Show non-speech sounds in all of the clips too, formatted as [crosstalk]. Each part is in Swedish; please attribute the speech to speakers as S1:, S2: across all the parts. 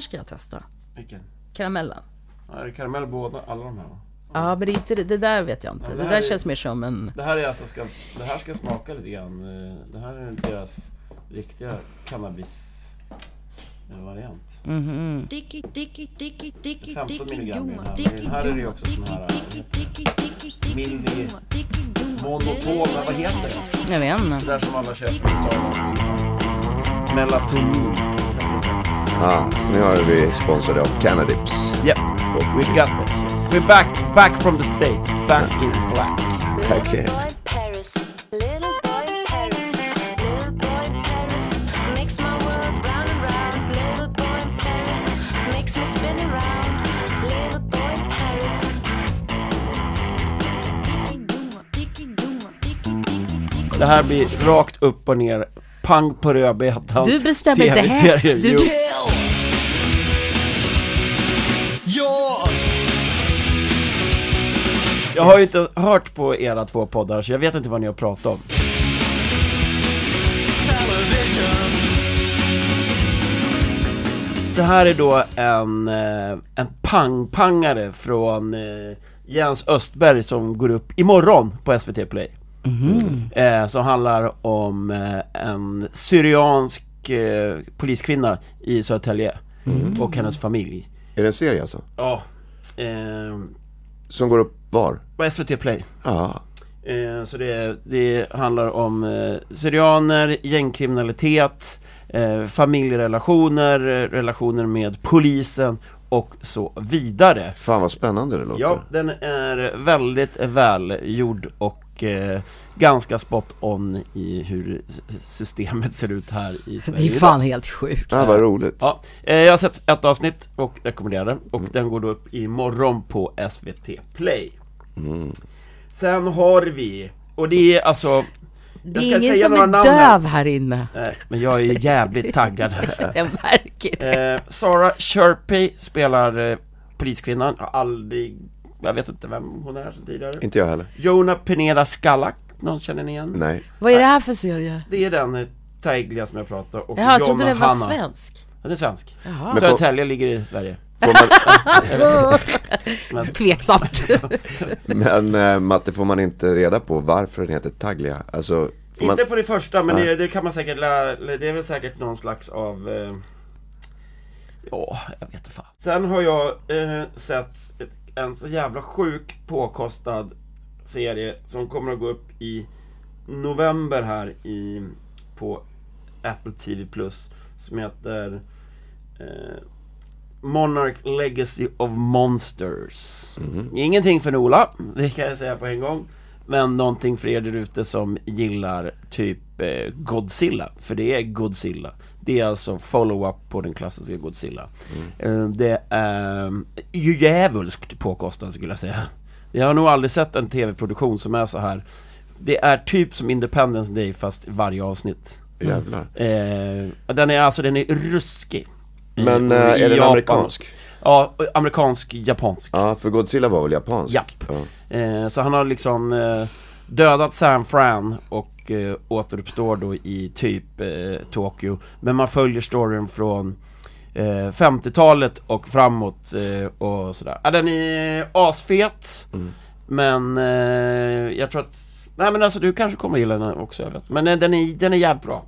S1: ska jag testa.
S2: Vilken?
S1: Karamellen.
S2: Ja, är det karamell båda, alla de här? va?
S1: Ja, men det, är inte, det- det där vet jag inte.
S2: Ja,
S1: det,
S2: det här
S1: där
S2: är-
S1: känns mer som en...
S2: Det här, är alltså ska, det här ska smaka lite grann. eh, Det här är deras riktiga eh, cannabis-variant.
S1: Mhm.
S3: Dicky, dicky, dicky, dicky,
S2: 15
S3: dicky,
S2: milligram i den här. Men den här är
S3: Duma, dicky,
S2: det ju
S3: Duma,
S2: också sån
S3: dicky,
S2: här,
S3: dicky, dicky, dicky, dicky,
S2: mild i
S3: Duma, dicky, Duma.
S2: Monotona, vad heter det?
S1: Jag vet
S2: Det
S1: inte.
S2: där som alla köper i Sara. Melatonin.
S4: Ja, så nu har vi sponsrade av Canadips.
S2: Yep, we got it. We're back, back from the States, back in black.
S4: Tack.
S3: Paris, little boy Paris, little boy Paris, makes my world round and round. Little boy Paris, makes me spin around. Little boy Paris. Dicky Duma, dicky Duma, dicky, dicky, dicky.
S2: Det här blir rakt upp och ner, pang på rödbetan.
S1: Du bestämmer det här.
S2: TV-serier.
S1: Du bes-
S2: Jo.
S5: Kill. Your
S2: Jag har ju inte hört på era två poddar så jag vet inte vad ni har pratat om.
S5: television.
S2: Det här är då en, eh, en pang-pangare från eh, Jens Östberg som går upp imorgon på SVT Play. Eh, som handlar om eh, en syriansk eh, poliskvinna i Södertälje och hennes familj.
S4: Är det en serie alltså?
S2: Ja. Ehm,
S4: Som går upp var?
S2: på SVT Play.
S4: Ja.
S2: Eh, så det, det handlar om eh, syrianer, gängkriminalitet, eh, familjerelationer, eh, relationer med polisen och så vidare.
S4: Fan vad spännande det låter.
S2: Ja, den är väldigt välgjord och eh, ganska spot on i hur s- systemet ser ut här i Sverige
S1: Det är
S2: idag.
S1: fan helt sjukt.
S4: Ja, vad roligt.
S2: Ja, eh, jag har sett ett avsnitt och rekommenderar den och
S4: Mm.
S2: den går då upp imorgon på SVT Play.
S4: Mm.
S2: Sen har vi, och det är alltså...
S1: Det
S2: jag ska
S1: är ingen
S2: säga
S1: som
S2: några
S1: är
S2: namn här.
S1: döv här
S2: [laughs]
S1: inne.
S2: Nej, men jag är ju
S1: [laughs]
S2: jävligt taggad.
S1: Jag märker det.
S2: Eh, Sara Sherpy spelar eh, poliskvinnan, har aldrig... Jag vet inte vem hon är sen tidigare.
S4: Inte jag heller.
S2: Jona Pineda Skallak, någon känner ni igen?
S4: Nej.
S1: Vad är det här för serie?
S2: Det är den eh, Taiglia som jag pratar och
S1: Jaha, jag
S2: Jonna
S1: trodde den var
S2: Hanna.
S1: svensk.
S2: Den är svensk.
S1: Jaha.
S4: Men får-
S2: Södertälje ligger i Sverige.
S4: Får man, [laughs]
S2: [laughs]
S1: Tveksamt.
S4: men eh, Matte, får man inte reda på varför den heter Taglia? Alltså, får man,
S2: Inte på det första, men
S4: Nej.
S2: det, det kan man säkert lära, det är väl säkert någon slags av... Eh, ja, jag vet inte fan. Sen har jag eh, sett ett, en så jävla sjuk påkostad serie som kommer att gå upp i november här i, på Apple TV Plus som heter eh, Monarch Legacy of Monsters.
S4: Mhm.
S2: Ingenting för Ola, det kan jag säga på en gång. Men någonting för er där ute som gillar typ eh, Godzilla, för det är Godzilla. Det är alltså follow-up på den klassiska Godzilla.
S4: Mm.
S2: Eh, det är ju djävulskt påkostat skulle jag säga. Jag har nog aldrig sett en tv-produktion som är så här. Det är typ som Independence Day fast i varje avsnitt.
S4: jävlar.
S2: Eh, den är alltså, den är ruskig. Eh,
S4: Men
S2: och
S4: eh,
S2: i
S4: är den
S2: Japan.
S4: amerikansk?
S2: Ja, och amerikansk, japansk.
S4: Ja, för Godzilla var väl japansk?
S2: Japp.
S4: Ja.
S2: Eh, så han har liksom eh, dödat San Fran och eh, återuppstår då i typ eh, Tokyo. Men man följer storyn från eh, 50-talet och framåt eh, och sådär. Ja, den är asfet. Men eh, jag tror att... Nej men alltså du kanske kommer att gilla den också, jag vet. Men eh, den är, den är jävligt bra.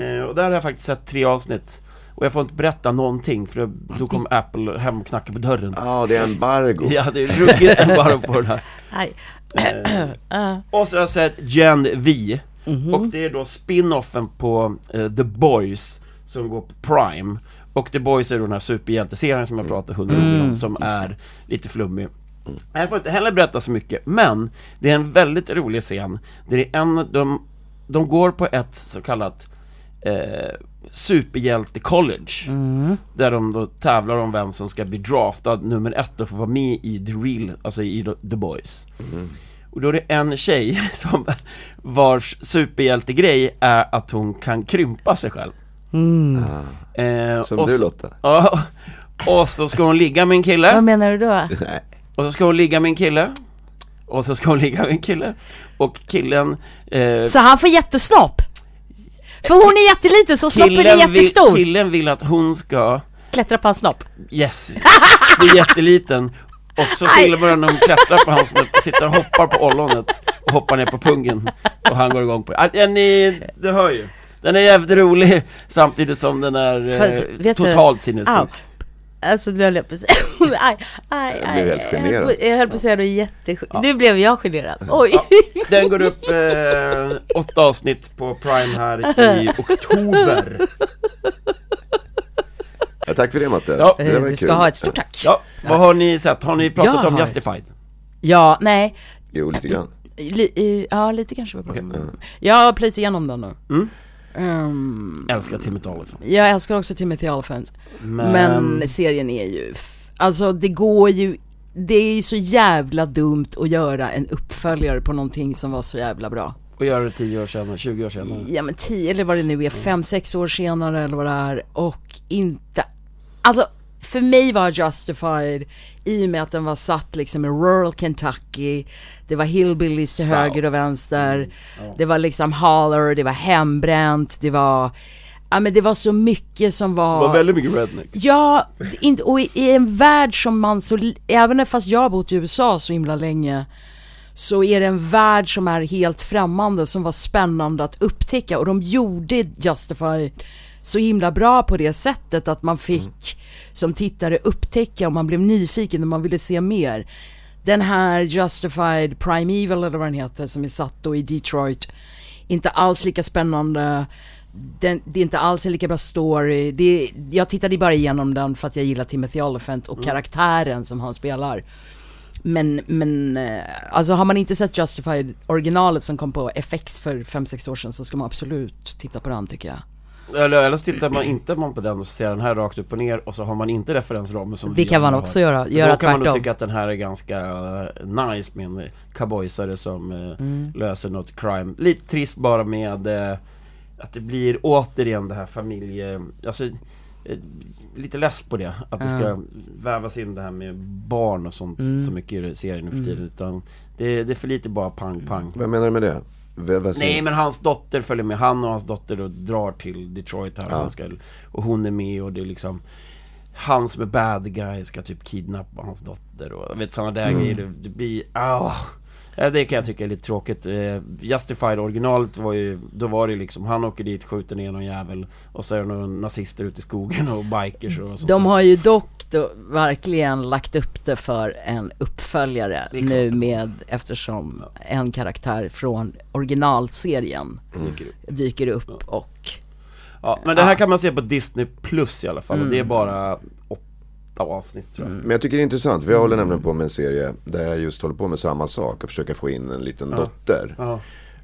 S2: Eh, och där har jag faktiskt sett tre avsnitt. Och jag får inte berätta någonting för då- då kommer Apple hem och knackar på dörren.
S4: Ja, det är embargo.
S2: Ja, det är ruggigt embargo på den här. Eh,
S1: Nej.
S2: Och så har jag sett Gen V Och det är då spin-offen på eh, The Boys Som går på Prime Och The Boys är då den här superhjälteserien som jag pratade hundra gånger om Som är lite flummig Jag får inte heller berätta så mycket Men det är en väldigt rolig scen Det är en, de, de går på ett så kallat eh, Superhjälte-college Där de då tävlar om vem som ska bli draftad nummer ett och få vara med i The Real, alltså i The Boys och då är det en tjej [laughs] som vars superhjältegrej är att hon kan krympa sig själv.
S1: Mm.
S2: Eh,
S4: Ah. Som
S2: och
S4: du
S2: så-
S4: Lotta.
S2: Ja. Och så ska hon ligga med en
S1: Vad
S2: kille,
S1: menar du då?
S2: och så ska hon ligga med en kille, och så ska hon ligga med en kille, och killen... Eh,
S1: Så han får jättesnopp? För hon är jätteliten så snoppen är
S2: killen, vill,
S1: jättestor?
S2: killen vill att hon ska
S1: Klättra på hans snopp.
S2: Yes, det är jätteliten Och så filmar han när hon klättrar på hans snopp, sitter och hoppar på ollonet och hoppar ner på pungen och han går igång på det. Ah, ja, ni, du hör ju Den är jävligt rolig samtidigt som den är
S1: Fast,
S2: eh,
S1: vet du-
S2: totalt sinnessjuk
S1: Au. Ah, Alltså nu höll jag på att säga, [laughs] aj, aj,
S4: Jag blev
S5: aj,
S4: helt
S5: aj,
S4: generad.
S1: jag höll på att säga något jättesjukt. Nu blev jag generad. Oj!
S2: Ja, den går upp eh, åtta avsnitt på Prime här
S1: [laughs]
S2: i oktober
S4: [laughs] Ja, tack för det Matte.
S2: Ja.
S4: Det där var
S1: Eh, du ska
S4: kul.
S1: ha ett stort tack.
S2: Ja, vad har ni sett? Har ni pratat
S1: Jag
S2: om
S1: har-
S2: Justified?
S1: Ja, nej.
S4: Jo, lite grann.
S1: Li, eh, ja, lite kanske var bra. Jag har plöjt igenom den nu.
S2: Mm.
S1: Ehm,
S2: Älskar Timmy Dalifan
S1: jag älskar också Timothy Olyphant.
S2: Men,
S1: Men...
S2: Ehm.
S1: serien är ju, f- alltså det går ju, det är ju så jävla dumt att göra en uppföljare på någonting som var så jävla bra.
S2: och göra det 10 år senare, 20 år senare
S1: ja men 10 eller vad det nu är, 5-6 år senare eller vad det är och inte, alltså för mig var Justified i och med att den var satt liksom i rural Kentucky, det var hillbillies till
S2: South. Mm.
S1: höger och vänster, det var liksom holler, det var hembränt, det var, ja men det var så mycket som
S2: Det var väldigt mycket rednecks
S1: Ja, inte, och i- i en värld som man så, även fast jag har bott i USA så himla länge så är det en värld som är helt främmande som var spännande att upptäcka och de gjorde Justify så himla bra på det sättet att man fick som tittare upptäcka och man blev nyfiken och man ville se mer. Den här Justified Primeval eller vad den heter som är satt då i Detroit inte alls lika spännande. Den, det är inte alls en lika bra story. Det, jag tittade bara igenom den för att jag gillar Timothy Olyphant och karaktären som han spelar. Men, men eh, alltså har man inte sett Justified originalet som kom på FX för 5-6 år sedan så ska man absolut titta på den tycker jag.
S2: Eller, eller så tittar man inte man på den och så ser den här rakt upp och ner och så har man inte referensramen som
S1: Det
S2: vi
S1: kan man
S2: har.
S1: också göra,
S2: För
S1: göra
S2: Då kan man nog
S1: tvärtom.
S2: tycka att den här är ganska eh, nice med en cowboysare som eh,
S1: Mm.
S2: löser något crime Lite trist bara med eh, att det blir återigen det här familje... Alltså, eh, lite less på det, att det ska vävas in det här med barn och sånt
S1: Mm.
S2: så mycket i serien nu för tiden utan det, det är för lite bara pang pang
S4: Vad menar du med det? V- vad säger
S2: Nej men hans dotter följer med, han och hans dotter då drar till Detroit här han ska, Och hon är med och det är liksom Han som är bad guy ska typ kidnappa hans dotter och jag vet sådana där grejer, det, det blir, ah. Eh, Det kan jag tycka är lite tråkigt. Eh, Justified originalet var ju, då var det ju liksom, han åker dit, skjuter ner någon jävel Och så är det några nazister ute i skogen och bikers och sånt
S1: De har ju dock då verkligen lagt upp det för en uppföljare
S2: är klart.
S1: nu med eftersom en karaktär från originalserien
S2: dyker upp.
S1: dyker upp och
S2: Mm. Ja, men det här kan man se på Disney plus i alla fall och det är
S1: Mm.
S2: bara åtta avsnitt tror jag
S4: Men jag tycker det är intressant, för jag håller nämligen på med en serie där jag just håller på med samma sak och försöker få in en liten dotter.
S2: Ja.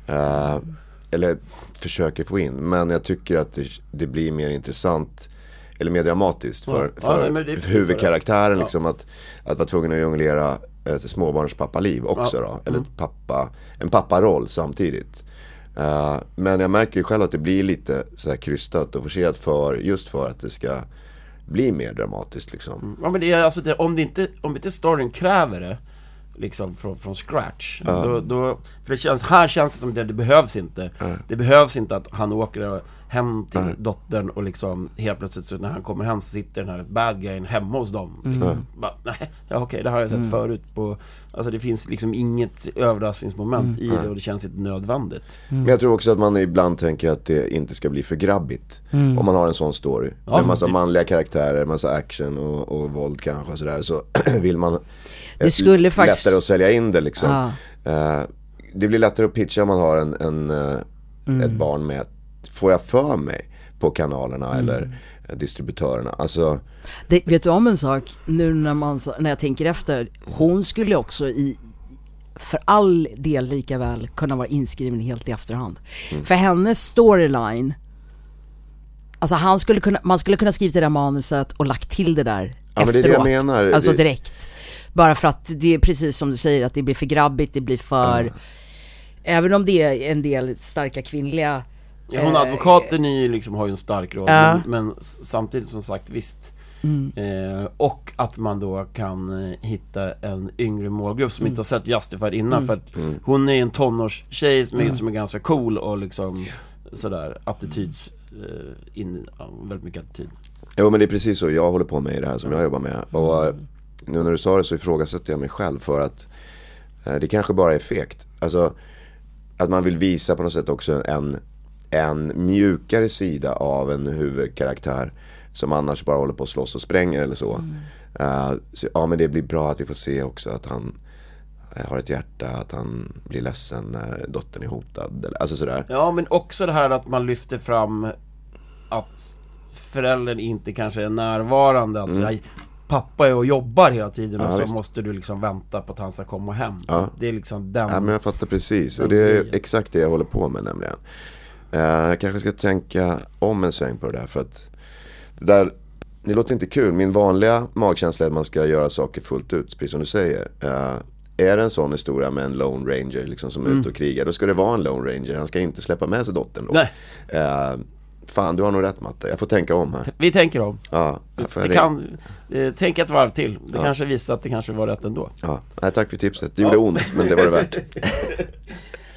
S4: Eh, eller försöker få in, men jag tycker att det, det blir mer intressant eller mer dramatiskt för,
S2: Mm. Ja,
S4: för
S2: nej, men det är precis så
S4: huvudkaraktären. Liksom, att, att vara tvungen att jonglera eh, ett småbarnspappaliv också
S2: Ja. Mm.
S4: då. Eller ett pappa, en papparoll samtidigt. Eh, men jag märker ju själv att det blir lite så här krystat och forcerat för, just för att det ska bli mer dramatiskt liksom.
S2: Ja men det är alltså, det, om, det inte, om inte storyn kräver det Liksom från, från scratch då, då, För det känns, här känns det som det, det behövs inte Det behövs inte att han åker hem till dottern och liksom Helt plötsligt så när han kommer hem så sitter den här bad guyen hemma hos dem liksom. Bara, nej, ja, okej det här har jag sett förut på Alltså det finns liksom inget överraskningsmoment i det och det känns inte nödvändigt
S4: Men jag tror också att man ibland tänker att det inte ska bli för grabbigt.
S1: Mm.
S4: Om man har en sån story. med massa
S1: typ.
S4: manliga karaktärer, massa action och, och våld kanske och sådär. Så [clears throat] vill man eh,
S1: skulle
S4: l-
S1: faktiskt-
S4: lättare att sälja in det liksom. Eh, det blir lättare att pitcha om man har en, en, eh,
S1: Mm.
S4: ett barn med, får jag för mig, på kanalerna
S1: Mm.
S4: eller eh, distributörerna. Alltså,
S1: Det, vet du om en sak? Nu när, man, sa- när jag tänker efter. Hon skulle också i, för all del lika väl kunna vara inskriven helt i efterhand.
S4: Mm.
S1: För hennes storyline, alltså han skulle kunna, man skulle kunna skriva det där manuset och lagt till det där
S4: Ja, men det är det jag
S1: efteråt.
S4: menar.
S1: Alltså
S4: Det-
S1: direkt. Bara för att det är precis som du säger, att det blir för grabbigt, det blir för... Även om det är en del starka kvinnliga
S2: Ja, hon advokaten är ju liksom, har ju en stark roll,
S1: Ja.
S2: men, men s- samtidigt som sagt visst eh, Och att man då kan eh, hitta en yngre målgrupp som inte har sett Justified innan för att hon är en tonårstjej som, är- som är ganska cool och liksom sådär attityds, eh, in, ja, väldigt mycket attityd
S4: Jo men det är precis så jag håller på med i det här som jag jobbar med. Och eh, nu när du sa det så ifrågasätter jag mig själv för att eh, det kanske bara är fegt. Alltså att man vill visa på något sätt också en, en mjukare sida av en huvudkaraktär som annars bara håller på att slåss och spränger eller så. Eh, så ja men det blir bra att vi får se också att han eh, har ett hjärta, att han blir ledsen när dottern är hotad. eller- Alltså sådär.
S2: Ja, men också det här att man lyfter fram att föräldern inte kanske är närvarande. Att säga, pappa är och jobbar hela tiden
S4: Mm. Ja,
S2: och så
S4: visst.
S2: måste du liksom vänta på att han ska komma hem.
S4: Ja.
S2: Det är liksom den...
S4: Ja, men jag fattar precis. Och det är exakt det jag håller på med nämligen. Eh, Jag kanske ska tänka om en sväng på det där. För att det där, det låter inte kul. Min vanliga magkänsla är att man ska göra saker fullt ut, precis som du säger. Eh, Är det en sån historia med en Lone Ranger liksom, som är
S2: Mm.
S4: ute och krigar, då ska det vara en Lone Ranger. Han ska inte släppa med sig dottern då.
S2: Nej.
S4: Eh, Fan, du har nog rätt Matte. Jag får tänka om här.
S2: Vi tänker om.
S4: Ja, jag får
S2: Det
S4: re-
S2: kan, eh, tänk ett varv till. Det kanske visar att det kanske var rätt ändå.
S4: ja. Nej, tack för tipset. Det gjorde ont, men det var
S2: [laughs]
S4: det värt.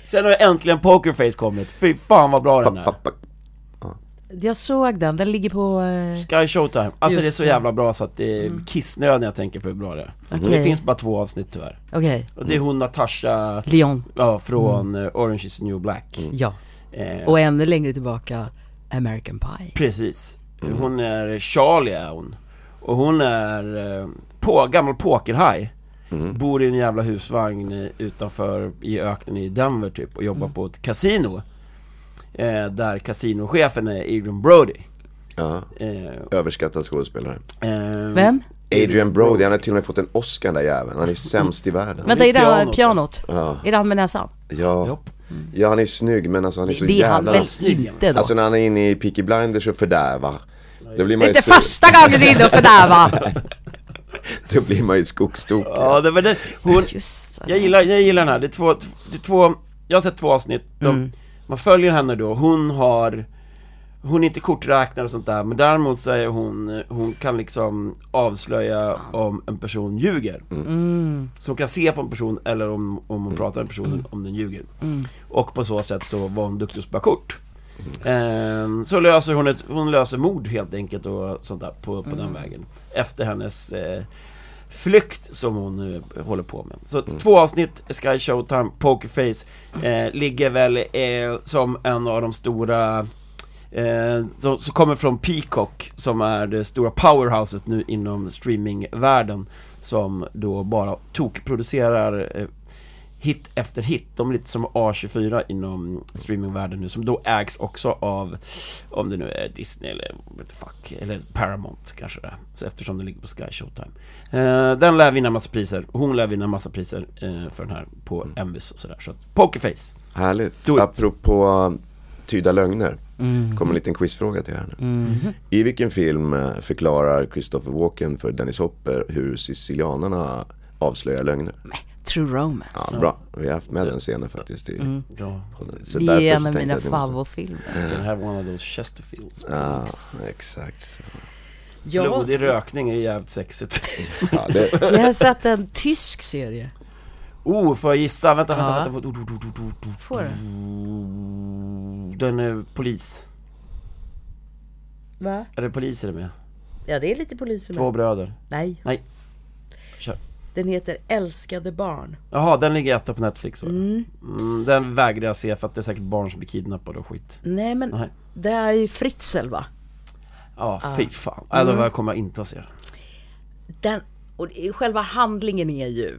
S2: Sen har äntligen Pokerface kommit. Fy fan vad bra den är.
S4: Pappa-
S1: Jag såg den, den ligger på... Eh,
S2: Sky Showtime. Alltså
S1: Just
S2: det är så
S1: det. Mm.
S2: jävla bra så att det är kissnöd när jag tänker på hur bra det är. Det
S1: Okej.
S2: finns bara två avsnitt tyvärr.
S1: Okej,
S2: Och det är
S4: Mm.
S2: hon Natasha,
S1: Leon.
S2: ja från eh, Orange is the new black.
S1: Ja.
S2: Eh,
S1: Och ännu längre tillbaka, American Pie.
S4: Mm.
S2: precis. Hon är Charlie är hon. Och hon är eh, på, gammal pokerhaj. Bor i en jävla husvagn eh, utanför i öknen i Denver typ och jobbar
S1: Mm.
S2: på ett kasino. Eh, där kasinochefen är Adrian Brody.
S4: Ja,
S2: Eh,
S4: överskattad skådespelare.
S2: eh,
S1: Vem?
S4: Adrian Brody, Mm. han har till och med fått en Oscar den där jäveln. Han är sämst i världen.
S1: Vänta, är det han
S2: pianot,
S1: pianot?
S4: Ja.
S1: Är det han med näsan?
S4: Ja. ja, han är snygg men alltså han är så
S1: det är han
S4: jävla...
S1: väl
S2: snygg.
S1: inte då?
S4: Alltså när han är inne i Peaky Blinders och fördärvar. Då blir
S1: det
S4: man
S1: är
S4: ju,
S1: inte
S4: så...
S1: första gången du är inne och
S4: [laughs]
S1: fördärvar!
S4: då blir man ju skogstokig.
S2: eh, Ja, det var det. Hon,
S1: Just
S2: jag, gillar, jag gillar den här, det är två, det är två jag har sett två avsnitt, de, man följer henne då, hon har hon är inte korträknare och sånt där, men däremot så är hon, hon kan liksom avslöja om en person ljuger. Så hon kan se på en person eller om, om hon pratar med personen om den ljuger. Och på så sätt så var hon duktig att spela kort. Ehm, så löser hon ett, hon löser mord helt enkelt och sånt där på, på den vägen. Efter hennes eh, flykt som hon eh, håller på med. Så två avsnitt, Sky Showtime, Pokerface, eh, ligger väl eh, som en av de stora Eh, som, som kommer från Peacock, som är det stora powerhouset nu inom streamingvärlden Som då bara tokproducerar eh, hit efter hit, de är lite som A24 inom streamingvärlden nu Som då ägs också av, om det nu är Disney eller what the fuck, eller Paramount kanske det är Så eftersom den ligger på Sky Showtime eh, Den lär vinna massa priser, hon lär vinna massa priser eh, för den här på Emmys och sådär Så att Pokerface,
S4: Härligt.
S2: Do it.
S4: Apropå eh, tyda lögner.
S1: Mm.
S4: Kommer en liten quizfråga till er nu. I vilken film eh, förklarar Christopher Walken för Dennis Hopper hur sicilianarna avslöjar lögner?
S1: True Romance.
S4: Ja, bra. Vi har haft med den scenen faktiskt i
S2: ja,
S4: podden. Så
S1: Mm. Det
S4: därför
S1: är
S4: så
S1: en av
S4: tänkte jag
S1: mina
S4: att vi måste- [laughs]
S1: favoritfilmer.
S2: den här var en av those Chesterfields
S4: Ja, exakt. så.
S1: Ja,
S2: Blodig rökning är jävligt sexigt. [laughs]
S4: Ja, det,
S1: jag har sett en tysk serie.
S2: Oh, får jag gissa? Vänta, vänta,
S1: Ja.
S2: vänta. Oh, oh, oh, oh,
S1: Får du?
S4: Mm.
S2: oh. Den är polis.
S1: Va?
S2: Är det polis är det med?
S1: Ja, det är lite poliser
S2: Två
S1: med.
S2: bröder.
S1: Nej,
S2: Nej. Kör.
S1: den heter Älskade barn.
S2: Jaha, den ligger etta på Netflix va? Mm. Den vägrar jag se för att det är säkert barn som blir kidnappade och skit.
S1: Nej men,
S2: Nej.
S1: det är ju Fritzl va?
S2: Ja, fy fan. Äh,
S1: Mm.
S2: då kommer jag inte att se den.
S1: Den, och det- själva handlingen är ju,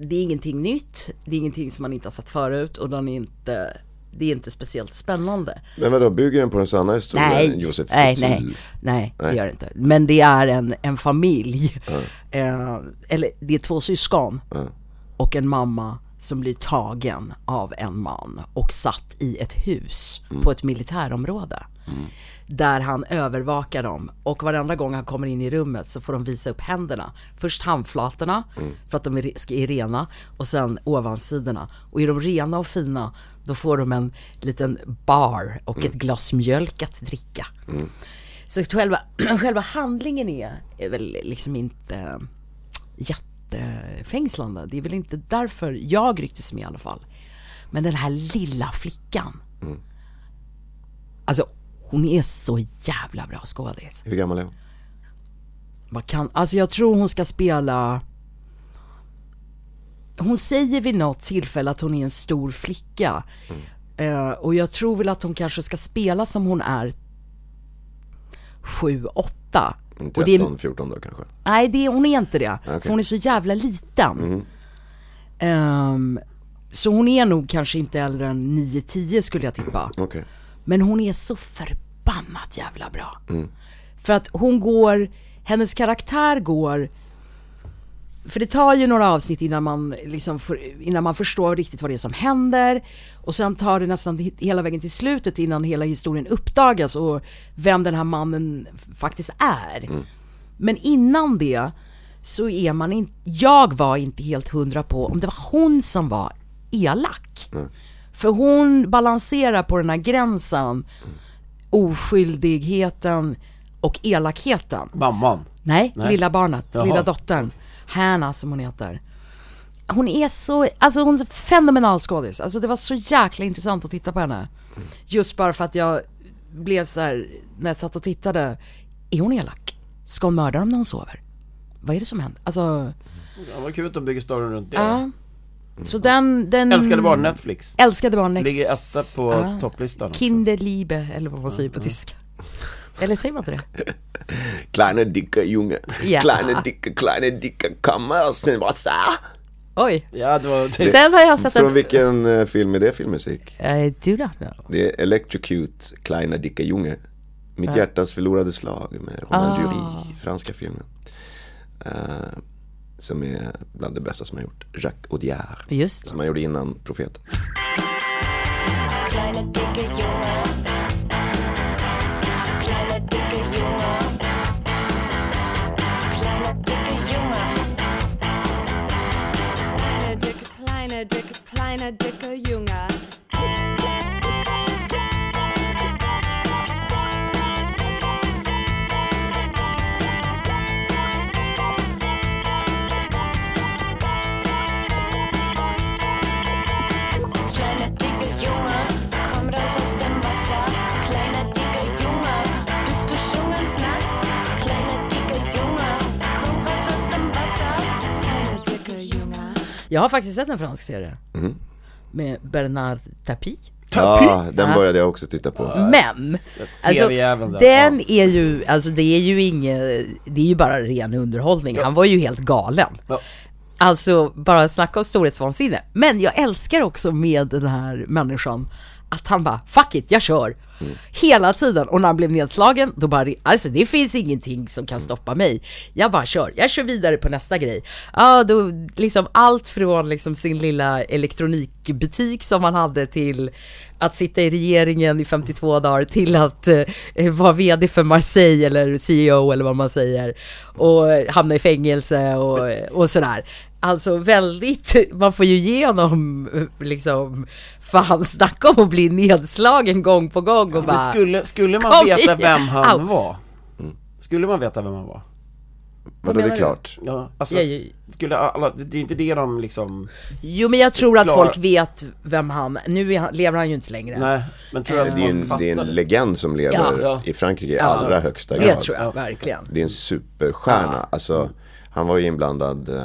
S1: det är ingenting nytt, det är ingenting som man inte har sett förut och den är inte, det är inte speciellt spännande.
S4: men vadå, bygger den på den sanna historien?
S1: Nej,
S4: Josef
S1: nej,
S4: Fritzl?
S1: nej, nej, det gör det inte. Men det är en, en familj, eh, eller det är två syskon och en mamma som blir tagen av en man och satt i ett hus på ett militärområde. Där han övervakar dem och varenda gång han kommer in i rummet så får de visa upp händerna. Först handflatorna för att de är, re- ska är rena och sen ovansidorna. Och är de rena och fina då får de en liten bar och ett glas mjölk att dricka. Så att själva, [clears throat] själva handlingen är, är väl liksom inte jättefängslande. Det är väl inte därför jag rycktes med i alla fall. Men den här lilla flickan. Alltså hon är så jävla bra skådis.
S4: Hur gammal är hon?
S1: Vad kan, alltså jag tror hon ska spela Hon säger vid något tillfälle att hon är en stor flicka eh, Och jag tror väl att hon kanske ska spela som hon är 7, 8 Och det är
S4: 13, 14 då kanske.
S1: Nej, det, hon är inte det.
S4: Okej.
S1: För hon är så jävla liten. Ehm, så hon är nog kanske inte äldre än 9-10 skulle jag tippa.
S4: Okej.
S1: Men hon är så förbannat jävla bra. För att hon går, hennes karaktär går, för det tar ju några avsnitt innan man, liksom för, innan man förstår riktigt vad det är som händer. Och sen tar det nästan he- hela vägen till slutet innan hela historien uppdagas och vem den här mannen f- faktiskt är. Men innan det så är man inte, jag var inte helt hundra på om det var hon som var elak. För hon balanserar på den här gränsen, oskyldigheten och elakheten.
S2: Mamman.
S1: Nej,
S2: Nej.
S1: lilla barnet,
S2: Jaha.
S1: lilla dottern. Hanna som hon heter. Hon är så, alltså hon är en fenomenal skådis. Alltså det var så jäkla intressant att titta på henne. Just bara för att jag blev så här när jag satt och tittade. Är hon elak? Ska hon mörda dem när hon sover? Vad är det som händer? Alltså,
S2: Ja, vad kul att de bygger storyn runt det.
S1: ja. Så den, den...
S2: Mm. Älskade barn Netflix.
S1: Älskade barn. Next.
S2: Ligger etta på
S1: Ja.
S2: topplistan. också.
S1: Kinderliebe, eller vad man säger
S2: Mm.
S1: på tyska. Eller säger man inte det?
S4: Kleine dicke Junge.
S1: Ja.
S4: Kleine dicke, kleine dicke kommer och sen bara så.
S1: Oj.
S2: Ja, det var...
S1: Sen har jag sett
S4: Från
S1: en...
S4: vilken eh, film är det filmmusik?
S1: I do not know.
S4: Det är Electrocute, Kleine dicke Junge. Mitt hjärtas förlorade slag med Romain
S1: Ah.
S4: Duris, franska filmen. Eh, som är bland det bästa som har gjort. Jacques Audiard.
S1: Just
S4: Som han gjorde innan Profeten.
S3: Kleine dicke Junge. Kleine dicke Junge. Kleine dicke Junge.
S6: Kleine, dicke, kleine, dicke, kleine, dicke Junge.
S3: Kleine dicke Junge. Komm raus aus dem Wasser. Kleiner dicker Junge. Bist du schon ganz nass? Kleiner dicker Junge. Komm raus aus dem Wasser.
S6: Kleine, dicke Junge.
S1: Jag har faktiskt sett en fransk serie. Med Bernard Tapie.
S4: Ja, den började jag också titta på.
S1: Men! Alltså,
S2: TV-jäveln där,
S1: den är ju, alltså det är ju inget, det är ju bara ren underhållning. Han var ju helt galen.
S2: Ja.
S1: Alltså, bara snacka om storhetsvansinne. Men jag älskar också med den här människan att han bara, fuck it, jag kör.
S2: Mm.
S1: Hela tiden. Och när han blev nedslagen, då bara, alltså det finns ingenting som
S2: Mm.
S1: kan stoppa mig. Jag bara kör, jag kör vidare på nästa grej. Ja, då liksom allt från liksom sin lilla elektronikbutik som han hade till att sitta i regeringen i 52 dagar till att eh, vara VD för Marseille eller CEO eller vad man säger och eh, hamna i fängelse och, och sådär. Alltså väldigt, man får ju igenom eh, liksom, fan snacka om att bli nedslagen gång på gång och
S2: Men
S1: bara,
S2: skulle, skulle man
S1: Kom
S2: veta
S1: igen.
S2: vem han
S1: Au.
S2: var?
S4: Mm.
S2: Skulle man veta vem han var?
S4: Vadå, det
S1: menar
S4: är
S1: du?
S4: klart.
S2: Ja, alltså,
S1: Ja, ja.
S2: skulle alla, det det är inte det de liksom...
S1: jo men jag tror att
S2: Klara-
S1: folk vet vem han, nu är han, lever han ju inte längre.
S2: Nej, men
S1: Eh.
S2: tror jag att
S4: Det
S2: folk
S4: är, en, det är en
S2: fattar det?
S4: legend som lever
S2: Ja.
S4: i Frankrike i allra högsta grad.
S1: Det tror jag verkligen.
S4: Det är en superstjärna. Alltså, han var ju inblandad eh,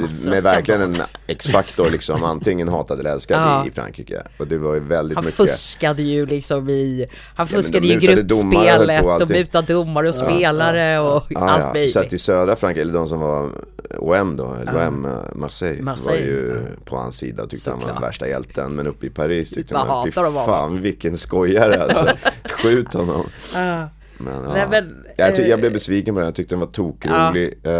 S1: Massor av
S4: med verkligen en
S1: skandaler.
S4: X-faktor liksom. Antingen hatad eller älskad
S1: Ja.
S4: i, i Frankrike. Och det var ju väldigt
S1: Han
S4: mycket.
S1: fuskade ju liksom i, han
S4: men de
S1: fuskade ju i
S4: mutade domare och höll på och
S1: gruppspelet och
S4: allting.
S1: mutade domare och spelare och
S4: Ja,
S1: allt
S4: ja.
S1: möjligt.
S4: Så att i södra Frankrike, eller de som var OM då, eller OM eh, Marseille,
S1: Marseille,
S4: var ju på hans sida och tyckte han var
S1: Såklart.
S4: den värsta hjälten. Men uppe i Paris tyckte
S1: Vad
S4: man, fy
S1: hatar de honom."
S4: fan vilken
S1: [laughs]
S4: skojare alltså. Skjut honom.
S1: Ah.
S4: Men, ja.
S1: Nej, men,
S4: jag, ty- jag
S1: eh,
S4: blev besviken på den, jag tyckte den var tokrolig. Eh,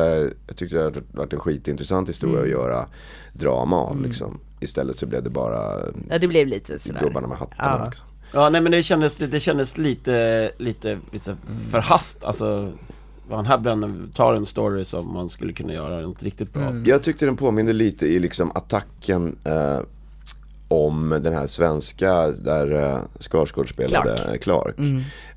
S4: jag tyckte det hade varit en skitintressant historia
S1: Mm.
S4: att göra drama av liksom. Istället så blev det bara
S1: Ja Mm. det blev lite sådär.
S4: gubbarna med hattarna.
S1: Ja.
S4: Liksom.
S2: Ja, nej men det kändes, det, det kändes lite, lite, lite förhast, alltså vad han här bränner, tar en story som man skulle kunna göra något riktigt bra
S4: Jag tyckte den påminde lite i liksom attacken eh, om den här svenska där eh, Skarsgård spelade Clark. Clark.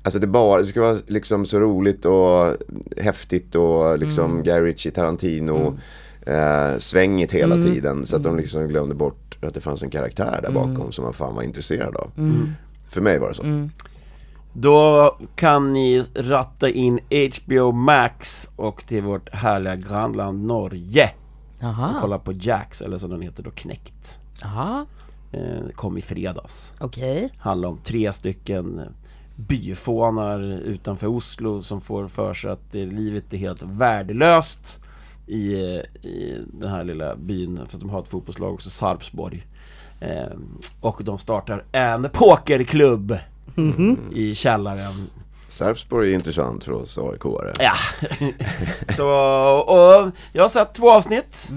S4: Alltså det, bara, det ska vara liksom så roligt och häftigt och liksom Guy Ritchie, Tarantino eh, svänget hela tiden. Så att de liksom glömde bort att det fanns en karaktär där bakom som man fan var intresserad av. För mig var det så.
S2: Då kan ni ratta in HBO Max och till vårt härliga grannland Norge och
S1: Jaha,
S2: kolla på Jax, eller som den heter då, Knäckt.
S1: ja,
S2: Eh, kom i fredags.
S1: okej.
S2: Handlar om tre stycken byfånar utanför Oslo som får för sig att eh, livet är helt värdelöst i, eh, i den här lilla byn, för att de har ett fotbollslag också, Sarpsborg. Eh, och de startar en pokerklubb i källaren
S4: Sarpsborg är intressant för oss AIK-are.
S2: Ja. så, och jag har sett två avsnitt.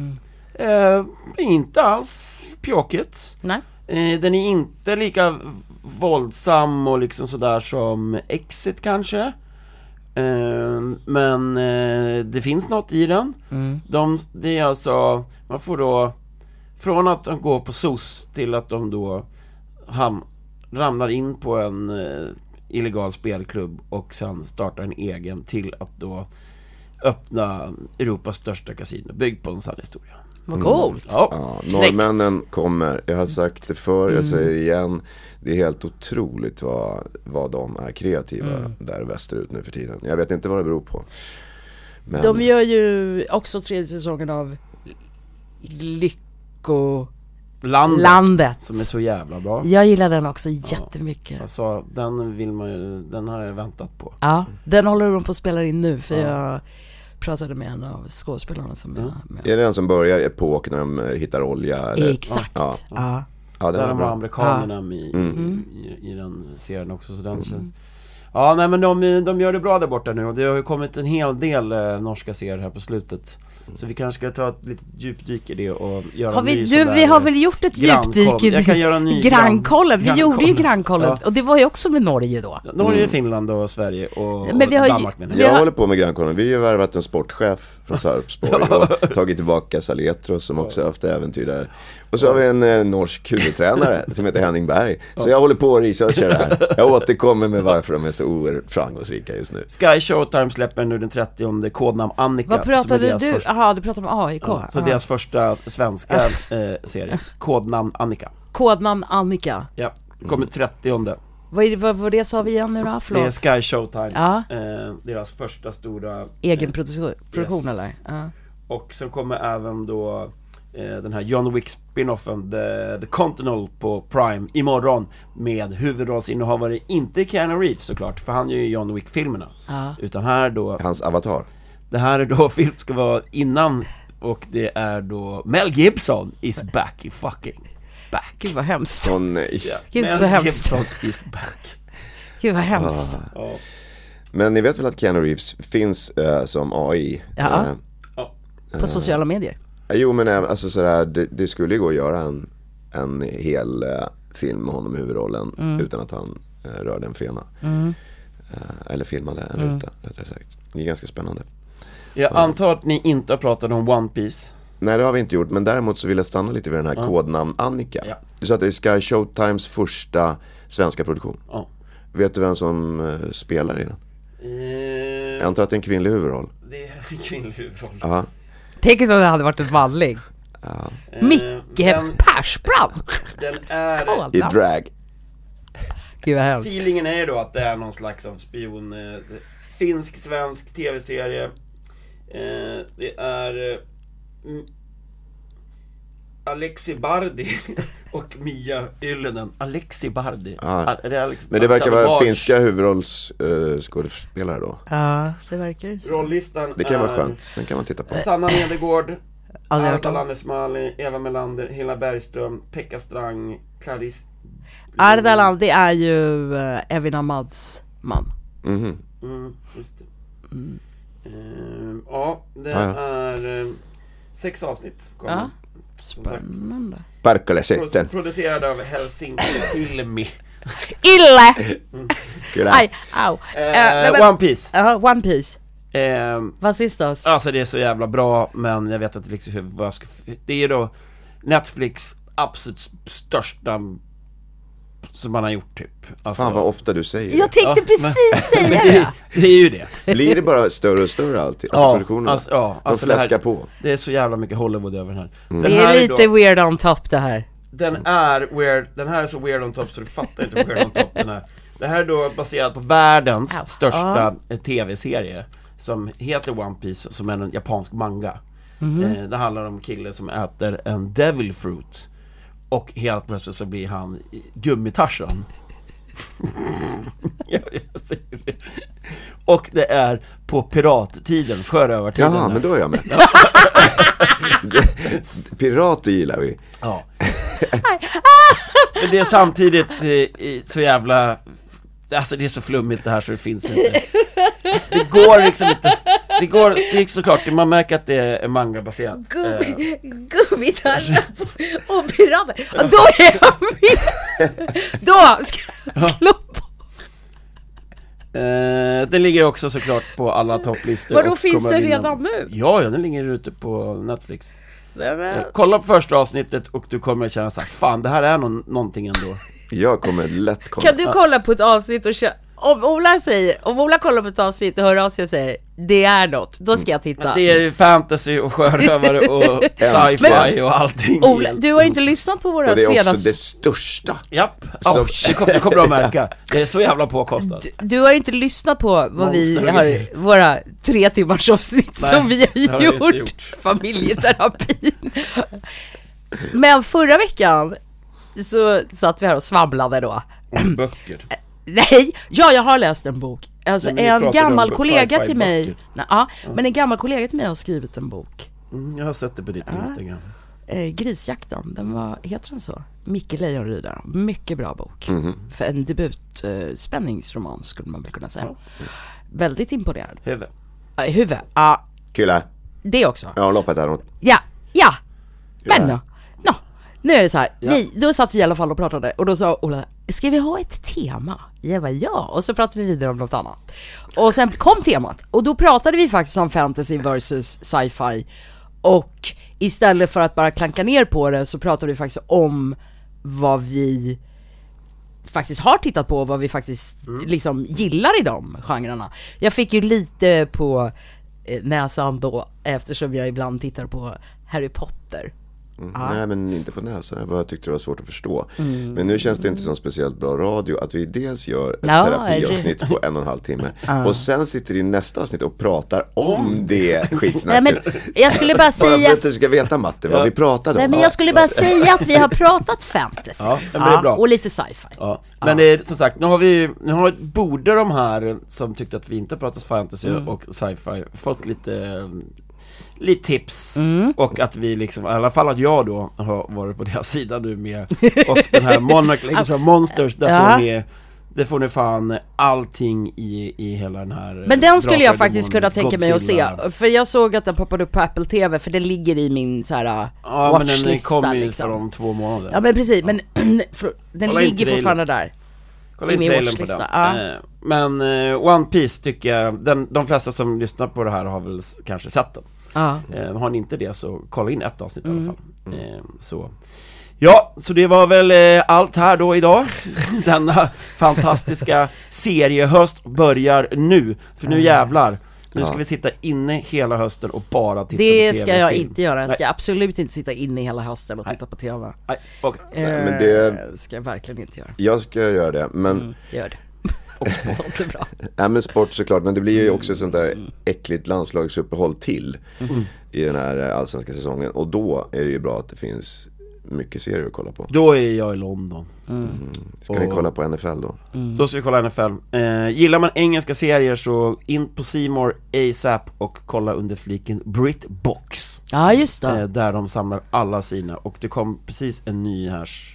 S2: Eh, inte alls pjåkigt.
S1: Nej.
S2: Eh, den är inte lika våldsam och liksom sådär som Exit kanske. Eh, men eh, det finns något i den.
S1: Mm.
S2: De, det är alltså, man får då från att de går på SOS till att de då ham- ramlar in på en eh, illegal spelklubb och sen startar en egen till att då öppna Europas största kasino, byggd på en sann historia.
S1: Vad coolt.
S4: Ja,
S2: knäckt.
S4: norrmännen kommer. Jag har sagt det förr,
S1: Mm.
S4: jag säger det igen. Det är helt otroligt vad, vad de är kreativa
S1: Mm.
S4: där västerut nu för tiden. Jag vet inte vad det beror på. Men
S1: De gör ju också tredje säsongen av Lyckolandet.
S2: Landet, som är så jävla bra.
S1: Jag gillar den också jättemycket.
S2: Alltså, den vill man ju, den har jag väntat på.
S1: Ja, den håller de på att spela in nu för jag pratade med en av skådespelarna som jag med.
S4: är det den som börjar i epok när de eh, hittar olja? Eller?
S1: Exakt.
S4: Ja,
S1: Ja.
S4: ja
S2: Där
S4: den
S2: de
S4: är
S2: har
S4: bra. Mm.
S2: amerikanerna
S1: Ah.
S2: med i, i, i den serien också, så den känns... Ja, nej men de, de gör det bra där borta nu och det har ju kommit en hel del eh, norska serier här på slutet. Så vi kanske ska ta ett litet djupdyk i det och göra
S1: Har
S2: en ny
S1: vi,
S2: sån
S1: du,
S2: där,
S1: vi har
S2: eh,
S1: väl gjort ett
S2: grannkoll.
S1: djupdyk i
S2: Jag kan göra
S1: [laughs]
S2: en ny
S1: grannkollen. Vi
S2: grann-
S1: gjorde ju
S2: grannkollen.
S1: grannkollen
S2: Ja.
S1: och det var ju också med Norge då.
S2: Norge,
S4: Mm.
S2: Finland och Sverige och,
S1: Men vi har
S2: och
S1: ju-
S2: Danmark menar jag.
S1: vi
S4: Jag
S1: har-
S4: håller på med grannkollen. Vi har värvat en sportchef
S1: [laughs]
S4: från Sarpsborg och tagit tillbaka Saletros som också haft äventyr där. Och så har vi en eh,
S1: [laughs]
S4: norsk huvudtränare som heter Henning Berg. Så jag håller på och researchar det här. Jag återkommer med varför de är så oerhört framgångsrika just nu.
S2: Sky Showtime släpper nu den 30 kodnamn Annika.
S1: Vad
S2: som är
S1: pratade
S2: deras
S1: du?
S2: första-
S1: Jaha, du pratade om AIK.
S2: Ja, så alltså-
S1: Aha.
S2: deras första svenska eh, serie, kodnamn Annika.
S1: Kodnamn Annika.
S2: Ja,
S4: Mm.
S2: kommer 30
S1: Vad, är det, vad, vad det sa vi igen nu då?
S2: Det
S1: Förlåt.
S2: är Sky Showtime,
S1: Ja.
S2: eh, deras första stora
S1: Egen produktion, produktion
S2: Yes.
S1: eller? Ja.
S2: Och sen kommer även då eh, den här John Wick spinoffen The, The Continental på Prime imorgon Med huvudrollsinnehavare, inte Keanu Reeves såklart, för han gör ju John Wick-filmerna
S1: Ja.
S2: Utan här då,
S4: Hans avatar.
S2: det här är då [laughs] film ska vara innan och det är då Mel Gibson is back i fucking back
S1: Gud vad hemskt.
S4: Åh nej.
S2: [laughs] Ja,
S1: Gud,
S2: Mel
S1: så hemskt.
S2: Gibson is
S1: [laughs]
S2: back
S1: Gud vad hemskt.
S2: ja.
S4: Men ni vet väl att Keanu Reeves finns eh, som AI?
S1: Ja.
S4: Eh,
S2: Ja.
S1: På sociala medier.
S4: jo men även, alltså sådär, det, det skulle ju gå att göra en, en hel eh, film med honom i huvudrollen
S2: Mm.
S4: utan att han eh, rörde en fena. Eh, eller filmade en
S2: Mm.
S4: ruta, rättare sagt. Det är ganska spännande.
S2: Jag antar att ni inte har pratat om One Piece
S4: Nej det har vi inte gjort, men däremot så vill jag stanna lite vid den här kodnamn Annika.
S2: Ja.
S4: Du sa att det är Sky Showtimes första svenska produktion.
S2: ja.
S4: Vet du vem som eh, spelar i den? Jag antar att det är en kvinnlig huvudroll.
S2: Eh, Det är en kvinnlig huvudroll
S4: Ja.
S1: Tänk om det hade varit en manlig. Micke
S2: den- [laughs]
S1: Persbrandt!
S2: Den är...
S4: I
S1: Kolla.
S4: drag.
S1: Gud vad hemskt.
S2: Feelingen är ju då att det är någon slags av spion, eh, finsk-svensk tv-serie. Eh, det är eh, M- Alexi Bardi [laughs] och Mia Yllenen. Alexi Bardi.
S4: Ja.
S2: Al- är det Alex- Alltså,
S4: Men det verkar
S2: Alexander
S4: vara
S2: Bard?
S4: finska huvudrollsskådespelare då.
S1: Ja, det verkar ju så.
S2: Rollistan
S4: Det kan
S2: är
S4: vara skönt, den kan man titta på.
S2: Sanna Nedergård,
S1: Aldrig hört om.
S2: Ardalan Esmali, Eva Melander, Hela Bergström, Pekka Strang, Clarice
S1: Ardalan, det är ju eh, Evin Ahmads man.
S4: Mhm.
S2: Mm, just det. Ehm, ja, det
S4: Mm. Ja, ja.
S2: är eh, sex avsnitt. kommer.
S1: Ja.
S2: Som sagt,
S1: Spännande.
S4: Perkele-sitten.
S2: pro- Producerad av Helsinki Filmi.
S1: Ille!
S4: Kyllä.
S1: Aj, au. Eh, nej, men-
S2: Eh, One Piece.
S1: Jaha, One Piece.
S2: Ehm,
S1: Vad sist då?
S2: alltså det är så jävla bra, men jag vet inte liksom vad jag ska... Det är ju då Netflix absolut största som man har gjort typ. Alltså,
S4: Fan vad ofta du säger
S1: Jag
S4: det.
S1: tänkte
S2: Ja,
S1: [laughs] precis säga
S2: [laughs] det,
S1: det.
S2: det är ju det.
S4: Blir det bara större och större alltid? Alltså produktionerna?
S2: alltså, ja, alltså
S4: De
S2: det här-
S4: fläskar på. Mm.
S2: Det är så jävla mycket Hollywood över den här. Den
S1: Det
S2: här
S1: är
S2: då-
S1: lite weird on top det här.
S2: Den är weird, den här är så weird on top så du fattar inte hur weird on top den är Det här är då baserat på världens
S7: Au.
S2: största eh, tv-serie Som heter One Piece, som är en japansk manga eh, Det handlar om en kille som äter en devil fruit Och helt plötsligt så blir han i- gummitarsan [laughs] Ja, jag säger det. Och det är på pirattiden, sjörövartiden
S4: Jaha,
S2: där.
S4: men då är jag med. [laughs] Pirater gillar vi.
S2: Ja. [laughs] Men det är samtidigt eh, i- så jävla... Alltså det är så flummigt det här så det finns inte. Det går liksom inte. Det går, det är såklart, man märker att det är mangabaserat. Eh,
S1: Gummi, gummitarrar på- och pirater. Ja, då är jag med! [laughs] Då ska jag slå på.
S2: eh, den ligger också såklart på alla topplistor.
S1: Vadå,
S2: och
S1: finns
S2: kommer
S1: den
S2: vinna-
S1: redan nu?
S2: Ja, ja, den ligger ute på Netflix.
S1: Nej, men-
S2: Eh, Kolla på första avsnittet och du kommer att känna såhär, fan det här är någon, någonting ändå.
S4: Jag kommer lätt komma.
S1: Kan du kolla på ett avsnitt och köra? Om Ola säger, om Ola kollar på ett avsnitt och hör av sig och säger det är något, då ska jag titta.
S2: Det är ju fantasy och sjörövare och sci-fi och allting.
S1: Ola, du har ju inte lyssnat på våra
S4: Och det är också
S1: senaste...
S4: det största.
S2: Japp,
S4: Så-
S2: Ja, det kommer, det kommer du att märka. Det är så jävla påkostat.
S1: Du har ju inte lyssnat på vad vi
S2: Monster.
S1: har, våra tre timmars avsnitt som vi
S2: det
S1: har
S2: har jag inte
S1: gjort,
S2: gjort.
S1: familjeterapi. Men förra veckan så satt vi här och svamlade då. [clears throat]
S2: Böcker.
S1: Nej, ja jag har läst en bok. Alltså
S2: Nej, men vi
S1: en
S2: pratade
S1: gammal
S2: om
S1: kollega
S2: sci-fi
S1: till mig,
S2: böcker.
S1: nej, ja, men en gammal kollega till mig har skrivit en bok.
S2: Mm, jag har sett det på ditt
S1: Ah.
S2: Instagram.
S1: eh, Grisjakten, den var, heter den så? Micke Lejonrydare, mycket bra bok.
S2: Mhm.
S1: För en debut, eh, spänningsroman skulle man väl kunna säga. Väldigt imponerad.
S2: Huvud.
S1: Ja, eh, I huvudet, ja
S4: Kille,
S1: det också.
S4: jag har loppet här. runt.
S1: Ja, ja, men
S4: Ja.
S1: nå, nå. Nu är det så här, vi, då satt vi i alla fall och pratade och då sa Ola, ska vi ha ett tema? Jag bara, ja, och så pratade vi vidare om något annat. Och sen kom temat och då pratade vi faktiskt om fantasy versus sci-fi och istället för att bara klanka ner på det så pratade vi faktiskt om vad vi faktiskt har tittat på och vad vi faktiskt
S2: Mm.
S1: liksom gillar i de genrerna. Jag fick ju lite på eh, näsan då eftersom jag ibland tittar på Harry Potter.
S4: Nej men inte på näsan, jag bara tyckte det var svårt att förstå.
S1: Mm.
S4: Men nu känns det inte som speciellt bra radio att vi dels gör ett
S1: Ja,
S4: terapiavsnitt på en och en
S1: [laughs]
S4: halv timme och sen sitter i nästa avsnitt och pratar om
S1: [laughs]
S4: det
S1: Nej men
S4: skitsnacket.
S1: jag
S2: [laughs]
S1: skulle bara
S4: Bara för
S1: säga
S4: att du ska veta Matte vad vi pratade om.
S1: Nej men jag skulle bara säga att vi har pratat fantasy
S2: Ja, men det är bra.
S1: och lite sci-fi.
S2: Ja. Men det är, som sagt, nu har vi ju- nu har, borde de här som tyckte att vi inte pratat fantasy
S1: Mm.
S2: och sci-fi fått lite, eh, lite tips
S1: Mm.
S2: och att vi liksom, i alla fall att jag då har varit på deras sida nu med och den
S1: [laughs]
S2: här Monarch Legacy of Monsters, där
S1: Ja.
S2: får ni det får ni fan allting i, i hela den här eh,
S1: Men den skulle
S2: Drakar
S1: jag
S2: och
S1: faktiskt kunna
S2: Demoner,
S1: tänka mig att se,
S2: Godzilla.
S1: för jag såg att den poppade upp på Apple TV för den ligger i min så här uh,
S2: Ja men den
S1: watchlista
S2: kommer ju liksom.
S1: liksom.
S2: om två månader
S1: Ja men precis, men [clears throat] för- den
S2: Kolla in
S1: ligger
S2: trailern.
S1: fortfarande där.
S2: Kolla
S1: i
S2: in
S1: min
S2: trailern på
S1: watchlista,
S2: den
S1: ja.
S2: Eh, Men eh, One Piece tycker jag, den, de flesta som lyssnar på det här har väl s- kanske sett den
S1: Ja.
S2: eh, Har ni inte det så kolla in ett avsnitt
S1: Mm.
S2: i alla fall eh, Så Ja, så det var väl eh, allt här då idag [laughs] Denna fantastiska seriehöst börjar nu, för nu jävlar nu ska vi sitta inne hela hösten och bara titta på
S1: Det
S2: TV
S1: ska jag
S2: film.
S1: inte göra, jag ska
S2: Nej,
S1: absolut inte sitta inne hela hösten och titta på TV.
S2: nej, okej.
S4: Nej, men det,
S1: Eh, ska jag verkligen inte göra.
S4: jag ska göra det, men
S1: Gör det. [laughs] Det låter bra.
S4: Ja men sport såklart, men det blir ju
S1: Mm.
S4: också ett sånt där äckligt landslagsuppehåll till
S1: Mm.
S4: i den här eh, allsvenska säsongen. Och då är det ju bra att det finns mycket serier att kolla på.
S2: Då är jag i London
S4: Ska ni kolla på NFL då?
S2: Då ska vi kolla NFL. Eh, gillar man engelska serier så in på C More ASAP och kolla under fliken Britbox.
S1: Ja just det.
S2: Eh, där de samlar alla sina och det kom precis en ny här s-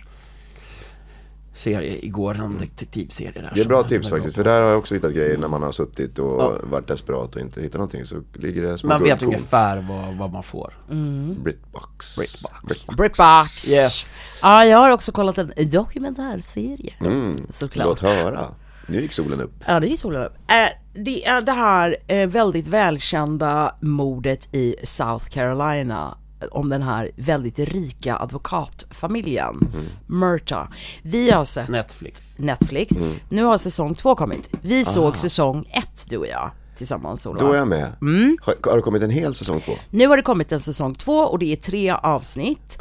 S2: serie igår, en detektivserie där.
S4: Det är
S2: som
S4: bra
S2: jag
S4: tips
S2: var
S4: faktiskt,
S2: bra
S4: för
S2: på.
S4: där har jag också hittat grejer när man har suttit och varit desperat och inte hittat någonting så ligger det små
S2: Man vet
S4: guldkorn.
S2: ungefär vad, vad man får.
S1: Mm.
S4: Britbox.
S2: Britbox.
S1: Britbox!
S2: Yes.
S1: Ja, jag har också kollat en dokumentärserie. Såklart.
S4: Låt höra. Nu gick solen upp.
S1: Ja, det är solen upp. Eh, Det är det här eh, väldigt välkända mordet i South Carolina eh, om den här väldigt rika advokatfamiljen, Murta. Vi har sett
S2: Netflix.
S1: Netflix,
S4: Mm.
S1: nu har säsong två kommit. Vi såg säsong ett, du och jag, tillsammans Ola.
S4: Ah. Då är jag med.
S2: Mm.
S4: Har, har det kommit en hel säsong två?
S1: Nu har det kommit en säsong två och det är tre avsnitt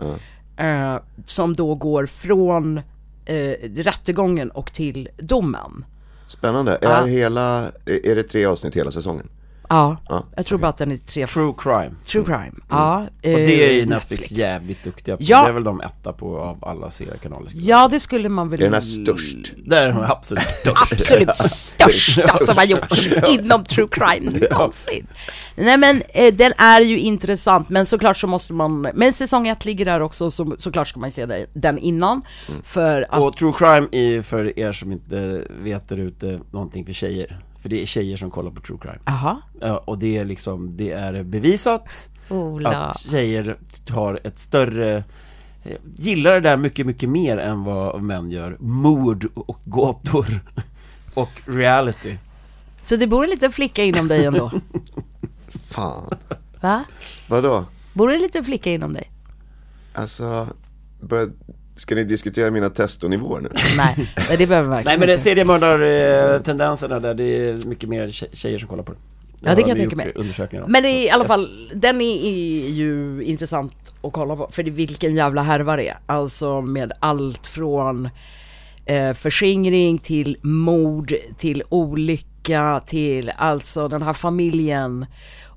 S4: Ah.
S1: eh, som då går från eh, rättegången och till domen.
S4: Spännande. Är, hela, är är det tre avsnitt hela säsongen?
S1: Ja,
S4: Ja,
S1: jag tror bara att den är tre,
S2: True crime.
S1: true crime.
S4: Mm.
S1: Ja, eh,
S2: Och det är ju Netflix, jävligt duktiga på.
S1: Ja.
S2: Det är väl de etta på av alla seriekanaler.
S1: Ja, det skulle man väl...
S4: Är den här störst?
S2: Där är de
S1: [laughs]
S2: absolut störst.
S1: absolut största som har gjorts inom true crime någonsin. Nej men eh, den är ju intressant, men såklart så måste man, men säsong ett ligger där också, så, såklart ska man ju se det- den innan. För att,
S2: Och true crime är ju för er som inte vet där ute någonting för tjejer. För det är tjejer som kollar på true crime.
S1: jaha,
S2: Ja, och det är liksom, det är bevisat
S1: Ola.
S2: att tjejer tar ett större eh, Gillar det där mycket, mycket mer än vad män gör. Mord och gåtor [laughs] och reality.
S1: Så det bor en liten flicka inom dig ändå?
S2: [laughs]
S4: Fan.
S1: Va?
S4: Vadå?
S1: Bor en liten flicka inom dig?
S4: Alltså, bör, ska ni diskutera mina testonivåer nu?
S1: Nej, men det behöver man
S2: Nej
S1: verkligen
S2: men det-
S1: inte.
S2: seriemördartendenserna där, det är mycket mer tje- tjejer som kollar på det.
S1: Ja, det kan jag tänka mig.
S2: mig.
S1: Men det är i alla fall, den är, är ju intressant att kolla på, för det, vilken jävla härva det är. Alltså med allt från eh, förskingring till mord, till olycka, till alltså den här familjen.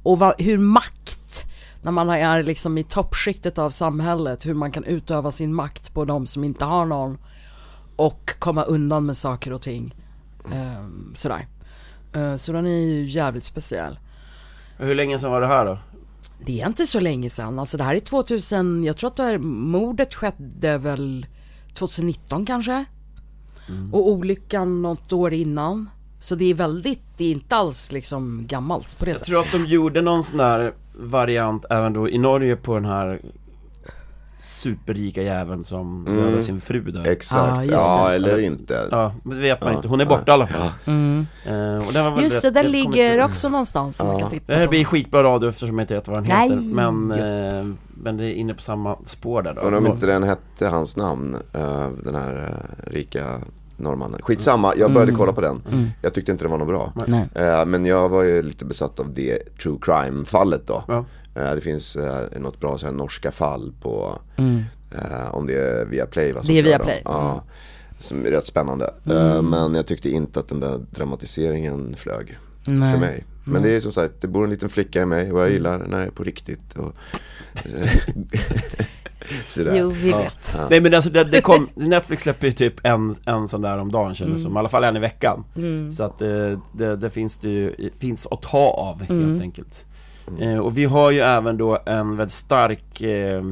S1: Och vad, hur makt, när man är liksom i toppskiktet av samhället, hur man kan utöva sin makt på de som inte har någon och komma undan med saker och ting. Eh, sådär. Eh, så den är ju jävligt speciell.
S2: Hur länge sedan var det här då?
S1: Det är inte så länge sedan, alltså det här är 2000, jag tror att det här mordet skedde väl 2019 kanske? Och olyckan något år innan. Så det är väldigt, det är inte alls liksom gammalt på det
S2: Jag
S1: sättet.
S2: tror att de gjorde någon sån här variant även då i Norge på den här superrika jäveln som dödade sin fru där.
S4: Exakt.
S1: Ah, just
S4: ja,
S1: det.
S4: eller inte.
S2: Ja, men det vet man inte. Hon är borta i alla fall. Eh, och den var väl
S1: Just
S2: rätt-
S1: det, den
S2: jag kommer
S1: ligger
S2: inte-
S1: också någonstans som man kan titta
S2: Det här
S1: på.
S2: blir skitbra radio eftersom jag inte vet vad han heter.
S1: Nej.
S2: Men, eh, men det är inne på samma spår där då.
S4: Undrar om inte den hette hans namn, eh, den här eh, rika norrmannen. Skitsamma, jag började
S1: Mm.
S4: kolla på den. Jag tyckte inte den var något bra. Eh, Men jag var ju lite besatt av det true crime-fallet då.
S2: Ja.
S4: Eh, Det finns eh, något bra så här, norska fall på, eh, om det är Viaplay va? som
S1: Mm. Det är
S4: kör dem.
S1: Viaplay. Mm.
S4: Ja, som är rätt spännande. Eh, Men jag tyckte inte att den där dramatiseringen flög för mig.
S1: Mm.
S4: Men det är som sagt, det bor en liten flicka i mig och jag gillar när det är på
S1: [laughs]
S4: riktigt. Och, [laughs] sådär.
S1: Jo, vi vet.
S2: Nej men alltså det, det
S1: [laughs]
S2: kom, Netflix släpper ju typ en, en sån där om dagen kändes som, i alla fall en i veckan
S1: Mm.
S2: Så att eh, det, det finns det ju, finns att ta av helt
S1: Mm.
S2: enkelt eh, Och vi har ju även då en väldigt stark eh,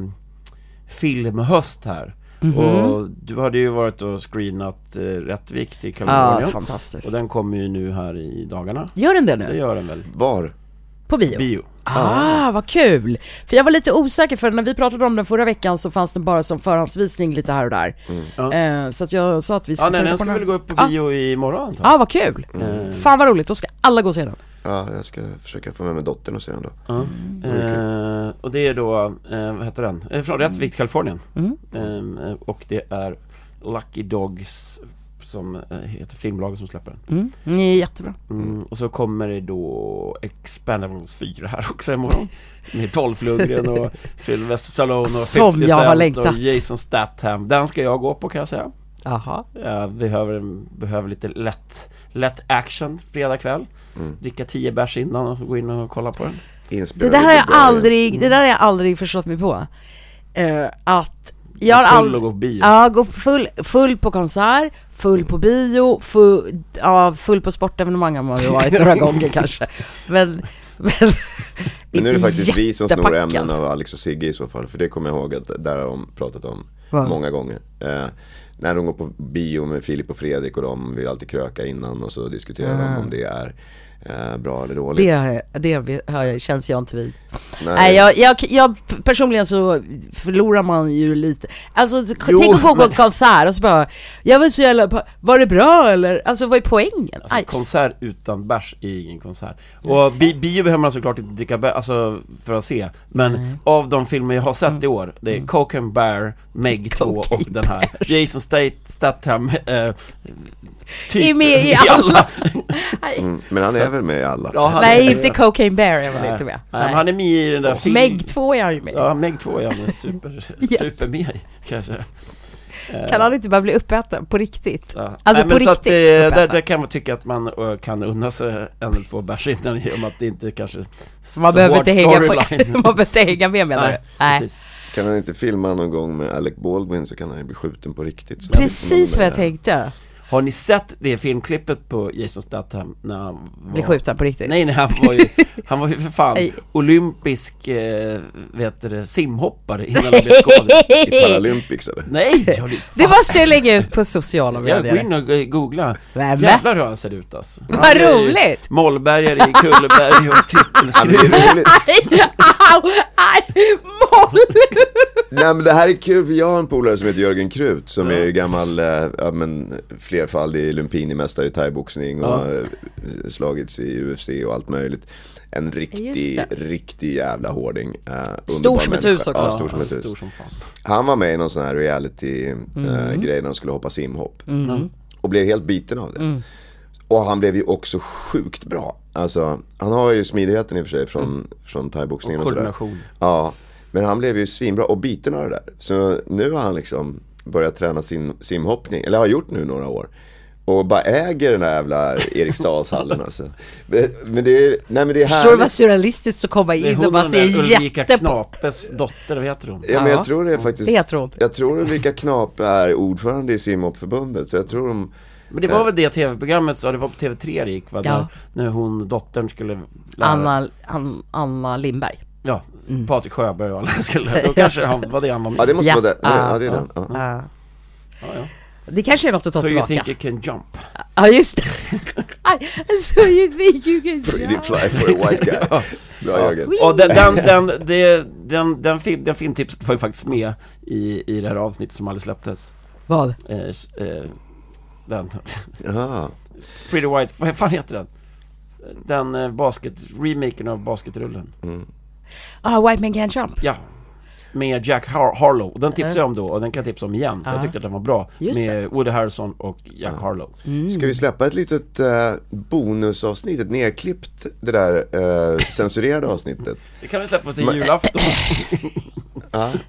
S2: filmhöst här
S1: Mhm.
S2: Och du hade ju varit och screenat eh, Rättvik till
S1: Ja,
S2: Kalifornien Och
S1: fantastiskt.
S2: den kommer ju nu här i dagarna
S1: Gör den det nu?
S2: Det gör den väl?
S4: Var?
S1: På bio?
S2: Bio
S1: Ah, vad kul! För jag var lite osäker för när vi pratade om den förra veckan så fanns den bara som förhandsvisning lite här och där.
S2: Ja.
S1: Eh, så att jag sa att vi skulle
S2: Mm. Ja
S1: titta
S2: nej den
S1: på
S2: ska
S1: här.
S2: väl gå upp på
S1: Ah.
S2: bio imorgon antar jag Eh,
S1: Ah, vad kul!
S2: Mm.
S1: Fan vad roligt, då ska alla gå och se den.
S4: Ja, jag ska försöka få med mig dottern och se den då.
S2: Ja.
S1: Mm.
S2: Eh, och det är då, eh, vad heter den? Eh, från
S1: Mm.
S2: Rättvik, Kalifornien. Eh, och det är Lucky Dogs som eh, heter filmbolaget som släpper den.
S1: Mm. Den är jättebra.
S2: Mm, och så kommer det då Expendables 4 här också imorgon. Med Dolph
S1: [laughs]
S2: Lundgren och Sylvester Stallone och
S1: Som
S2: 50
S1: jag har
S2: Cent
S1: längtat.
S2: och Jason Statham. Den ska jag gå på kan jag säga.
S1: Jaha.
S2: Jag behöver, behöver lite lätt, lätt action fredag kväll.
S1: Mm.
S2: Dricka 10 bärs innan och gå in och kolla på den.
S1: Det
S4: Inspelad
S1: där
S4: i
S1: har jag
S4: Bulgarien.
S1: aldrig, det där har jag aldrig förstått mig på. Eh, att jag har
S2: Full och
S1: aldrig,
S2: gå på bio.
S1: ja gå full, full på konsert, full på bio, full, ja, full på sportevenemang har man ju varit några gånger kanske. Men, men,
S4: Men nu är det faktiskt vi som snor
S1: jättepackad.
S4: ämnen av Alex och Sigge i så fall, för det kommer jag ihåg att där har de pratat om
S1: Vad?
S4: många gånger. Eh, när de går på bio med Filip och Fredrik och de vill alltid kröka innan och så diskuterar de om det är eh, bra eller dåligt.
S1: Ah. Det, har jag- det har jag, känns jag inte vid.
S4: Nej,
S1: Nej, jag, jag, jag, personligen så förlorar man ju lite. Alltså k-
S2: Jo,
S1: tänk att gå på
S2: men-
S1: en konsert och så bara, jag var så jävla, pa- var det bra eller? Alltså vad är poängen?
S2: Alltså
S1: Aj.
S2: konsert utan bärs är ingen konsert. Och bi bio behöver man såklart inte dricka bärs, alltså för att se. Men av de filmer jag har sett i år, det är Coke and Bear, Meg 2
S1: Mm. Coke
S2: och
S1: and
S2: den här. Jason State, Statham, eh, typ
S1: Är med
S2: [laughs]
S1: i
S4: Mm, men han är väl med i alla?
S2: Ja, han
S1: Nej
S2: är,
S1: inte Cocaine Bear jag var
S2: Nej.
S1: inte med.
S2: Nej, men han är med i den där filmen.
S1: Meg 2 är han ju med i. [laughs]
S2: Ja, Meg 2 är han super, super med i, kan jag säga.
S1: Kan han inte bara bli uppäten på riktigt?
S2: Ja.
S1: Alltså
S2: Nej,
S1: på
S2: men så att
S1: riktigt
S2: det, där,
S1: uppäten.
S2: där kan man tycka att man eh, kan unna sig en eller två bärs innan i och med att det inte kanske är så
S1: Man behöver,
S2: hård
S1: inte hänga på, [laughs]
S2: storyline.
S1: man behöver inte hänga med menar
S2: Nej,
S1: du? Nej.
S2: precis.
S4: Kan han inte filma någon gång med Alec Baldwin så kan han ju bli skjuten på riktigt. Så
S1: Precis
S4: slipper
S1: vad
S4: man
S1: jag tänkte.
S2: Har ni sett det filmklippet på Jason Statham när han var...
S1: Bli skjuten på riktigt.
S2: Nej, nej, han
S1: [laughs]
S2: var ju, han var ju för fan
S1: Nej.
S2: olympisk, eh, vet du det, simhoppare innan han
S1: [laughs]
S2: blev skådis.
S4: I Paralympics eller?
S2: Nej, jag blir-
S1: Det måste jag lägga ut på sociala
S2: jag går
S1: medier.
S2: in och eh, googlar.
S1: Vem?
S2: Jävlar hur han ser ut alltså.
S1: Vad roligt!
S2: Mollbergare i
S1: [laughs]
S2: Kulleberg och
S4: Det är
S2: trippelskruv.
S4: roligt.
S1: Au! Aj! Moll!
S4: Nej men det här är kul för jag har en polare som heter Jörgen Krut som är gammal, eh, ja men flerfaldig Lumpini-mästare i thaiboxning och har eh, slagits i UFC och allt möjligt. En riktig,
S1: Just
S4: riktig jävla hårding. eh, underbar
S1: Stor som ett
S4: människa.
S1: hus också.
S4: Ja, stor som ett hus.
S2: Stor som fan.
S4: Han var med i någon sån här reality-grej
S1: Mm.
S4: där de skulle hoppa simhopp. Och blev helt biten av det.
S1: Mm.
S4: Och han blev ju också sjukt bra. Alltså, han har ju smidigheten i och för sig från,
S1: Mm.
S4: från thaiboxningen och,
S2: Och
S4: sådär.
S2: koordination.
S4: Ja, men han blev ju svinbra och biten av det där. Så nu har han liksom börjat träna sin simhoppning, eller har gjort nu några år. Och bara äger den där jävla Eriksdalshallen alltså. Men- Men det är, nej men det är
S1: Förstår du
S4: härligt.
S1: vad surrealistiskt att komma
S2: Det är
S1: in och
S2: hon
S1: man
S2: den där
S1: ser
S2: Ulrika
S1: jätte... på-
S2: Knapes dotter, vad heter hon?
S4: Ja, men
S1: Ja.
S4: jag tror det är faktiskt.
S1: Det tror inte.
S4: jag tror Ulrika Knape är ordförande i simhoppförbundet, så jag tror de
S2: Men det var väl det tv-programmet, så det var på TV3 det gick va?
S1: Ja.
S2: När, när hon, dottern skulle lära...
S1: Anna, An- Anna Lindberg.
S2: Ja, Patrik Sjöberg och alla [laughs] skulle... Då kanske han, var det han var med
S4: Ja det måste
S1: Ja.
S4: vara den,
S1: Ah.
S4: ja det är den. Ja.
S1: Ja.
S2: ja.
S1: Det kanske är något att ta
S2: So you
S1: tillbaka.
S2: think you can jump?
S1: Ja just
S2: [laughs]
S1: det. Aj, alltså, so you think you can
S4: Pretty
S1: jump.
S4: fly for a white guy. Bra Jörgen.
S2: Och den, den, den, det- den, den, film, den filmtipset var ju faktiskt med i, i det här avsnittet som aldrig släpptes.
S1: Vad?
S2: Eh, s- eh, den. [laughs]
S4: Jaha.
S2: Pretty White, vad fan heter den? Den eh, basket, remaken av basketrullen.
S1: Ah, White Man Can't Jump.
S2: Ja. Med Jack Har- Harlow, Och den tipsade jag om då och den kan jag tipsa om igen. Jag tyckte att den var bra.
S1: Just
S2: med Woody Harrison och Jack Harlow.
S1: Mm.
S4: Ska vi släppa ett litet eh, bonusavsnitt, ett nedklippt, det där eh, censurerade avsnittet?
S2: Det kan vi släppa till julafton.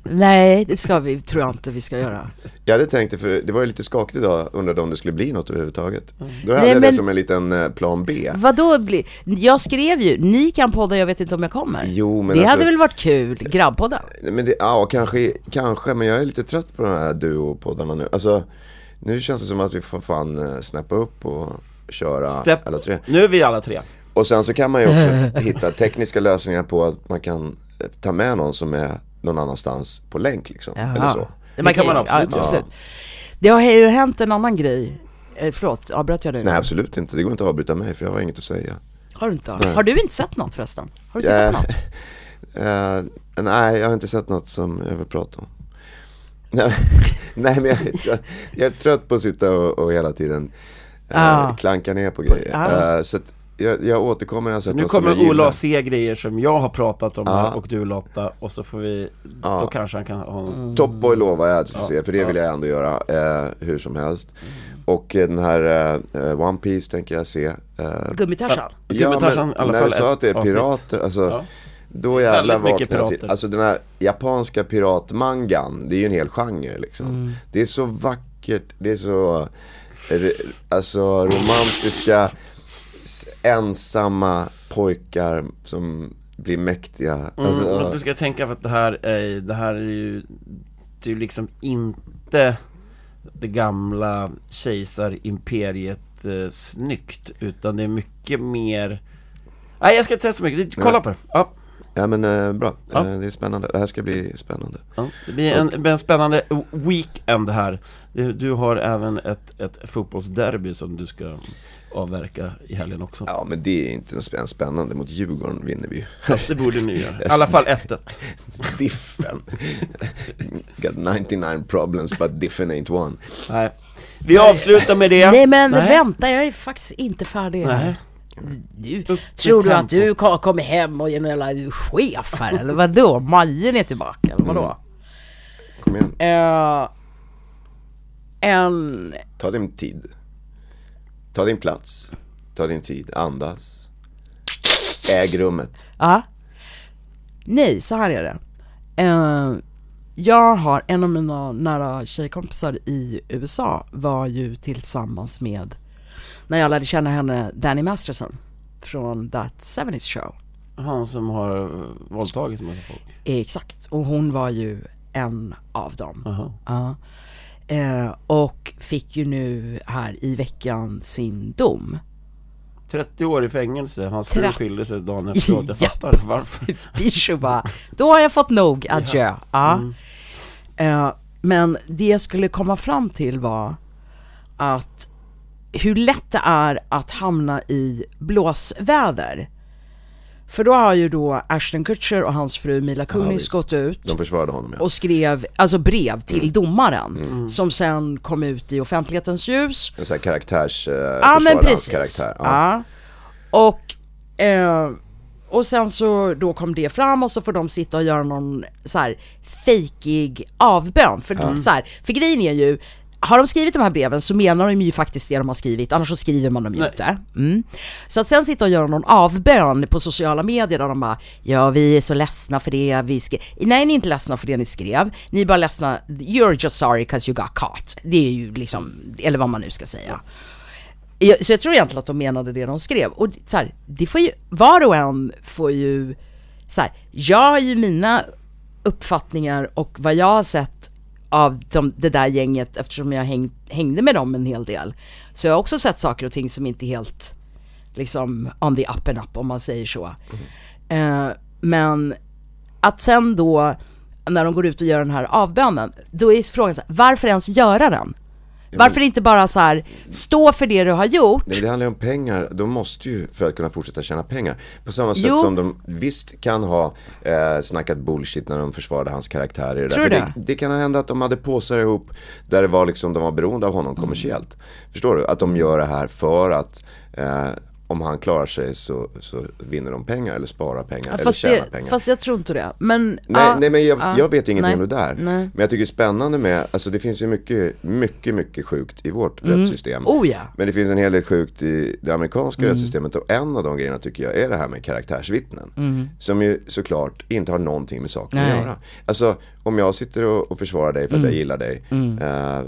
S1: Nej, det ska vi, tror jag inte vi ska göra.
S4: Jag hade tänkt det, för det var ju lite skakigt idag, undrade om det skulle bli något överhuvudtaget. Då hade
S1: Mm. Nej,
S4: jag det
S1: men-
S4: som en liten eh, plan B.
S1: Vadå bli? Jag skrev ju, ni kan podda, jag vet inte om jag kommer.
S4: Jo, men
S1: det
S4: alltså-
S1: hade väl varit kul, grabbpodden?
S4: Men det, ja, kanske, kanske, men jag är lite trött på de här duopoddarna nu. Alltså, nu känns det som att vi får fan eh, snappa upp och köra
S2: [clears throat] Step-
S4: alla tre.
S2: Nu är vi alla tre.
S4: Och sen så kan man ju också hitta tekniska lösningar på att man kan eh, ta med någon som är någon annanstans på länk liksom. Eller så.
S1: Det
S2: kan man absolut
S1: ja,
S2: göra.
S1: absolut. Det har ju hänt en annan grej. Eh, förlåt, avbröt jag nu?
S4: Nej absolut inte, det går inte att avbryta mig för jag har inget att säga.
S1: Har du inte? Har du inte sett något förresten? Har du tittat
S4: Eh,
S1: på något?
S4: [laughs] eh, nej, jag har inte sett något som jag vill prata om. [laughs] Nej, nej men jag är, trött, jag är trött på att sitta och, och hela tiden eh,
S1: Ah.
S4: klanka ner på grejer.
S1: Ah.
S4: Eh, så att jag, jag återkommer när jag har sett
S2: Nu
S4: något som jag
S2: kommer Ola
S4: gillar.
S2: och se grejer som jag har pratat om här
S4: Ja.
S2: och du Lotta och så får vi, då kanske han kan ha någon
S4: Top Boy lovar jag att se, för det vill jag ändå göra eh, hur som helst.
S2: Mm.
S4: Och eh, den här eh, eh, One Piece tänker jag se. Eh,
S1: Gummitarsan?
S4: ja,
S2: Tarzan, i alla
S4: men när
S2: fall
S4: du sa
S2: ett
S4: att det är
S2: avsnitt.
S4: pirater, alltså,
S2: Ja.
S4: då jävlar
S2: Väldigt mycket
S4: vaknade jag till.
S2: pirater.
S4: Alltså den här japanska piratmangan, det är ju en hel genre liksom. Det är så vackert, det är så, re, alltså romantiska, s- ensamma pojkar som blir mäktiga. alltså,
S2: Mm, men du ska tänka på att det här är, det här är ju, det är ju liksom inte det gamla kejsarimperiet eh, snyggt, utan det är mycket mer Nej jag ska inte säga så mycket, kolla på det! Ja,
S4: Ja men eh, bra,
S2: Ja.
S4: Eh, det är spännande. Det här ska bli spännande.
S2: ja. Det blir en, det blir en spännande weekend här Du, du har även ett, ett fotbollsderby som du ska avverka i helgen också
S4: Ja men det är inte något spänn- spännande, mot Djurgården vinner vi ju.
S2: Det borde ni göra, i alla fall 1-1
S4: Diffen. Got 99 problems but Diffen ain't one.
S2: Nej, vi avslutar med det
S1: Nej men
S2: Nej.
S1: vänta, jag är faktiskt inte färdig.
S2: Nej.
S1: Du,
S2: Upp
S1: tror
S2: i
S1: du att
S2: tempo.
S1: du ka- kommer hem och är en jävla chef här eller vadå? Majen är tillbaka eller vadå?
S4: Kom igen,
S2: Mm.
S1: Eh, en...
S4: ta din tid. Ta din plats. Ta din tid, andas. Äg rummet.
S1: Ja. Nej, så här är det. Eh, Jag har, en av mina nära tjejkompisar i USA var ju tillsammans med, när jag lärde känna henne, Danny Masterson från That 70s Show.
S2: Han som har eh, våldtagit massa folk.
S1: Exakt, och hon var ju en av dem.
S2: Aha.
S1: Ja. Eh, och fick ju nu här i veckan sin dom.
S2: 30 år i fängelse, hans fru
S1: Tre-
S2: skilde sig dagen efteråt. Jag
S1: Japp.
S2: fattar
S1: [laughs]
S2: varför.
S1: Bishu bara, då har jag fått nog, adjö. Ja.
S4: Mm.
S1: Eh, men det jag skulle komma fram till var att hur lätt det är att hamna i blåsväder. För då har ju då Ashton Kutcher och hans fru Mila Kunis
S4: visst.
S1: gått ut
S4: De Mm. försvarade honom ja.
S1: och skrev alltså brev till domaren som sen kom ut i offentlighetens ljus.
S4: En sån här karaktärs... Eh,
S1: Ja men
S4: försvarade hans
S1: precis.
S4: Karaktär. Ja.
S1: Ja. Och, eh, och sen så då kom det fram och så får de sitta och göra någon så här fejkig avbön. För, de, så här, för grejen är ju, har de skrivit de här breven så menar de ju faktiskt det de har skrivit, annars så skriver man dem ju inte. Mm. Så att sen sitta och göra någon avbön på sociala medier där de bara Ja vi är så ledsna för det vi skrev. Nej ni är inte ledsna för det ni skrev, ni är bara ledsna, you're just sorry 'cause you got caught. Det är ju liksom, eller vad man nu ska säga. Jag- Så jag tror egentligen att de menade det de skrev. Och så här, det får ju, var och en får ju, så här, jag har ju mina uppfattningar och vad jag har sett av de, det där gänget eftersom jag häng, hängde med dem en hel del. Så jag har också sett saker och ting som inte är helt, liksom on the up and up om man säger så. Eh, men att sen då, när de går ut och gör den här avbönen, då är frågan så här, varför ens göra den? Varför inte bara så här, stå för det du har gjort?
S4: Nej, men det handlar ju om pengar. De måste ju, för att kunna fortsätta tjäna pengar. På samma sätt
S1: Jo.
S4: som de visst kan ha eh, snackat bullshit när de försvarade hans karaktär i det där.
S1: Tror
S4: För
S1: du
S4: det, det kan ha hänt att de hade påsar ihop där det var liksom, de var beroende av
S1: Mm.
S4: honom kommersiellt. Förstår du? Att de gör det här för att eh, om han klarar sig så, så vinner de pengar eller sparar pengar eller
S1: Fast,
S4: tjänar
S1: det,
S4: pengar.
S1: fast jag tror inte det. Men,
S4: Nej,
S1: ja,
S4: nej men jag,
S1: ja,
S4: jag vet ingenting
S1: nej,
S4: om det där.
S1: Nej.
S4: Men jag tycker det är spännande med, alltså det finns ju mycket, mycket, mycket sjukt i vårt rättssystem.
S1: Oh ja.
S4: Men det finns en hel del sjukt i det amerikanska rättssystemet och en av de grejerna tycker jag är det här med karaktärsvittnen. Som ju såklart inte har någonting med saken
S1: Nej.
S4: att göra. Alltså om jag sitter och, och försvarar dig för att jag gillar dig eh, eh,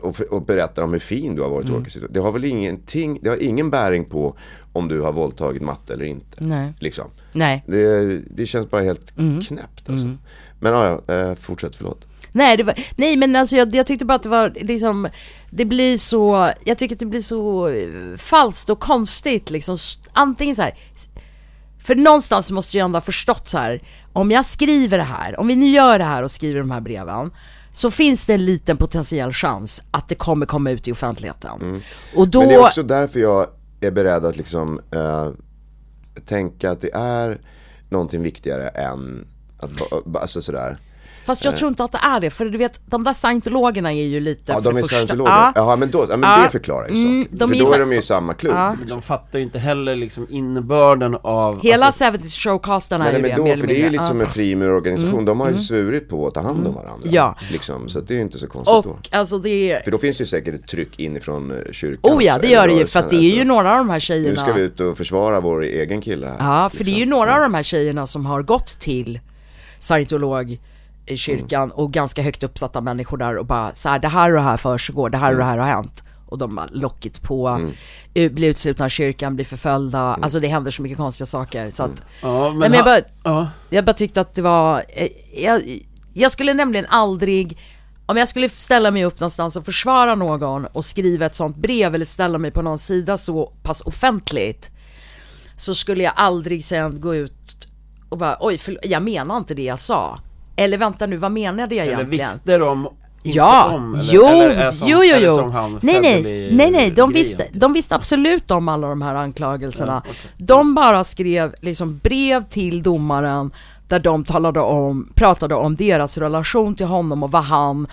S4: och, för- och berättar om hur fin du har varit i olika situationer. Det har väl ingenting, det har ingen bäring på om du har våldtagit matte eller inte.
S1: Nej.
S4: Liksom.
S1: Nej.
S4: Det, det känns bara helt knäppt alltså. Men ja, ja, eh, fortsätt, förlåt.
S1: Nej, det var, nej men alltså jag, jag tyckte bara att det var liksom, det blir så, jag tycker att det blir så eh, falskt och konstigt liksom. S- Antingen så här, s- för någonstans måste jag ändå ha förstått så här, om jag skriver det här, om vi nu gör det här och skriver de här breven, så finns det en liten potentiell chans att det kommer komma ut i offentligheten. Och då,
S4: Mm. Men det är också därför jag är beredd att liksom eh, tänka att det är någonting viktigare än att ba- ba- alltså sådär.
S1: fast
S4: Eh.
S1: jag tror inte att det är det, för du vet, de där scientologerna är ju lite
S4: Ja,
S1: för
S4: de är
S1: första-
S4: scientologer.
S1: Ja.
S4: Jaha, men, då, ja, men
S1: Ja.
S4: det förklarar ju
S1: Mm,
S4: saker.
S1: de är
S4: För
S1: ju
S4: då
S1: så-
S4: är de ju i samma klubb.
S1: Ja.
S4: liksom.
S2: De fattar ju inte heller liksom innebörden av...
S1: Hela
S2: alltså,
S1: 70 showcasten är
S4: Nej,
S1: ju
S4: men
S1: det,
S4: då,
S1: mer
S4: för
S1: eller
S4: det är ju liksom
S1: mindre. Mm.
S4: lite som en frimurorganisation. De har ju svurit på att ta hand om varandra.
S1: Ja.
S4: Liksom, så att det är ju inte så konstigt
S1: Ja.
S4: då.
S1: Och alltså det är,
S4: För då finns det ju säkert ett tryck inifrån eh, kyrkan.
S1: oh ja
S4: också,
S1: det
S4: eller
S1: gör det ju
S4: rörelsen,
S1: för att det är ju
S4: alltså.
S1: några av de här
S4: Nu
S1: tjejerna
S4: ska vi ut och försvara vår egen kille här. Liksom.
S1: Ja, för det är ju några av de här tjejerna som har gått till scientologkyrkan
S4: Mm.
S1: och ganska högt uppsatta människor där och bara så här, det här och det här försiggår, det här och det här
S4: Mm.
S1: har hänt. Och de har lockit på, eh, blir utslutna ur kyrkan, blir förföljda,
S4: Mm.
S1: alltså det händer så mycket konstiga saker. Så att,
S2: Ja, men
S1: Nej, men jag,
S2: ha-
S1: bara,
S2: ja.
S1: jag bara tyckte att det var, eh, jag, jag skulle nämligen aldrig om jag skulle ställa mig upp någonstans och försvara någon och skriva ett sånt brev eller ställa mig på någon sida så pass offentligt så skulle jag aldrig sen gå ut och bara oj, förl- jag menar inte det jag sa. Eller vänta nu, vad menade jag
S2: Eller
S1: egentligen?
S2: visste de inte
S1: Ja,
S2: om? Eller,
S1: jo,
S2: eller är som,
S1: jo, jo,
S2: Eller
S1: jo.
S2: som han
S1: nej, nej,
S2: Federley-
S1: nej, nej, de
S2: grejen. typ.
S1: visste, de visste absolut om alla de här anklagelserna. De bara skrev liksom brev till domaren där de talade om, pratade om deras relation till honom och vad han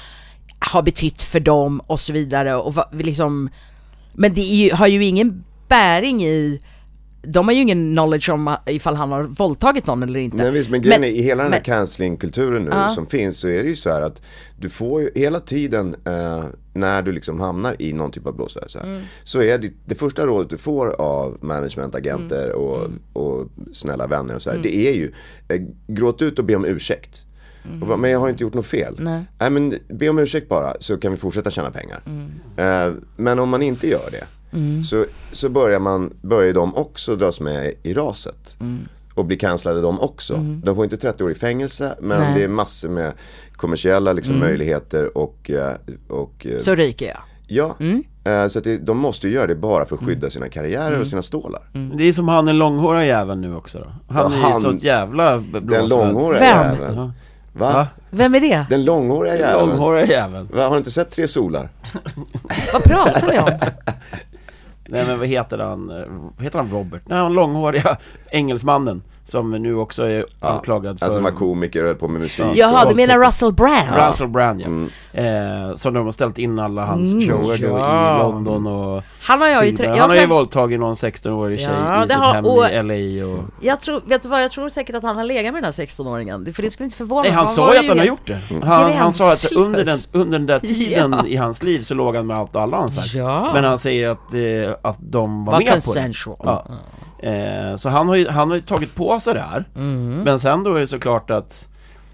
S1: har betytt för dem och så vidare och vad, liksom men det är ju, har ju ingen bäring i de har ju ingen knowledge om ifall han har våldtagit någon eller inte.
S4: Nej, visst, men grejen är, i hela den här
S1: men-
S4: cancelling-kulturen nu som finns så är det ju så här att du får ju hela tiden eh, när du liksom hamnar i någon typ av blåsväder så, här,
S1: Mm.
S4: så är det, det första rådet du får av managementagenter
S1: Mm.
S4: och, och snälla vänner och så här, det är ju eh, gråt ut och be om ursäkt. Och bara, men jag har inte gjort något fel. Nej. men be om ursäkt bara så kan vi fortsätta tjäna pengar.
S8: Mm.
S4: Eh, men om man inte gör det så, så börjar, man, börjar de också dras med i raset.
S8: Mm.
S4: Och blir cancellade de också. De får inte 30 år i fängelse men det är massor med kommersiella liksom, möjligheter och, eh, och eh,
S8: Mm. Så Mm. ryker jag.
S4: Ja, eh, så att det, de måste ju göra det bara för att
S8: Mm.
S4: skydda sina karriärer och sina stålar.
S2: Det är som han den långhåriga jäveln nu också då. Han
S4: Ja,
S2: är ju
S4: han-
S2: sånt jävla b-
S4: Den
S2: blåsväder.
S4: långhåriga
S8: Vem?
S4: jäveln.
S2: Ja.
S4: Va?
S2: Va?
S8: Vem är
S1: [laughs]
S8: det?
S4: Den långhåriga jäveln.
S2: Långhåriga jäveln.
S4: Va, har du inte sett Tre Solar?
S8: Vad pratar vi om?
S2: Nej men vad heter han? Eh, Heter han Robert? Nej, han långhåriga engelsmannen. Som nu också är anklagad för...
S4: Han som var Alltså, komiker och höll på med musik.
S8: Jaha, du menar
S2: Våldtäkt.
S8: Russell Brand?
S2: Russell Brand ja. Eh, som de har ställt in alla hans shower då i London och...
S8: Han har Mm. jag ju
S2: Filmer.
S8: trä- jag
S2: Han har ju
S8: träff-
S2: våldtagit någon 16-årig tjej
S8: Ja,
S2: i
S8: det
S2: sitt
S8: har-
S2: hem
S8: och-
S2: i LA och...
S8: Jag tror, vet du vad, jag tror säkert att han har legat med den här 16-åringen. Det- För det skulle inte förvåna
S2: Nej
S8: mig,
S2: han
S8: för
S2: sa
S8: var
S2: ju att han
S8: ju
S2: har
S8: helt-
S2: gjort det. Han, han sa att
S8: Gränslös.
S2: under den, under den där tiden
S8: Ja.
S2: i hans liv så låg han med allt och alla har han sagt.
S8: Ja.
S2: Men han säger att, eh, att de var,
S8: Var
S2: med
S8: consensual.
S2: på det. Ja. Eh, så han har, ju, han har ju tagit på sig det här.
S8: Mm.
S2: Men sen då är det såklart att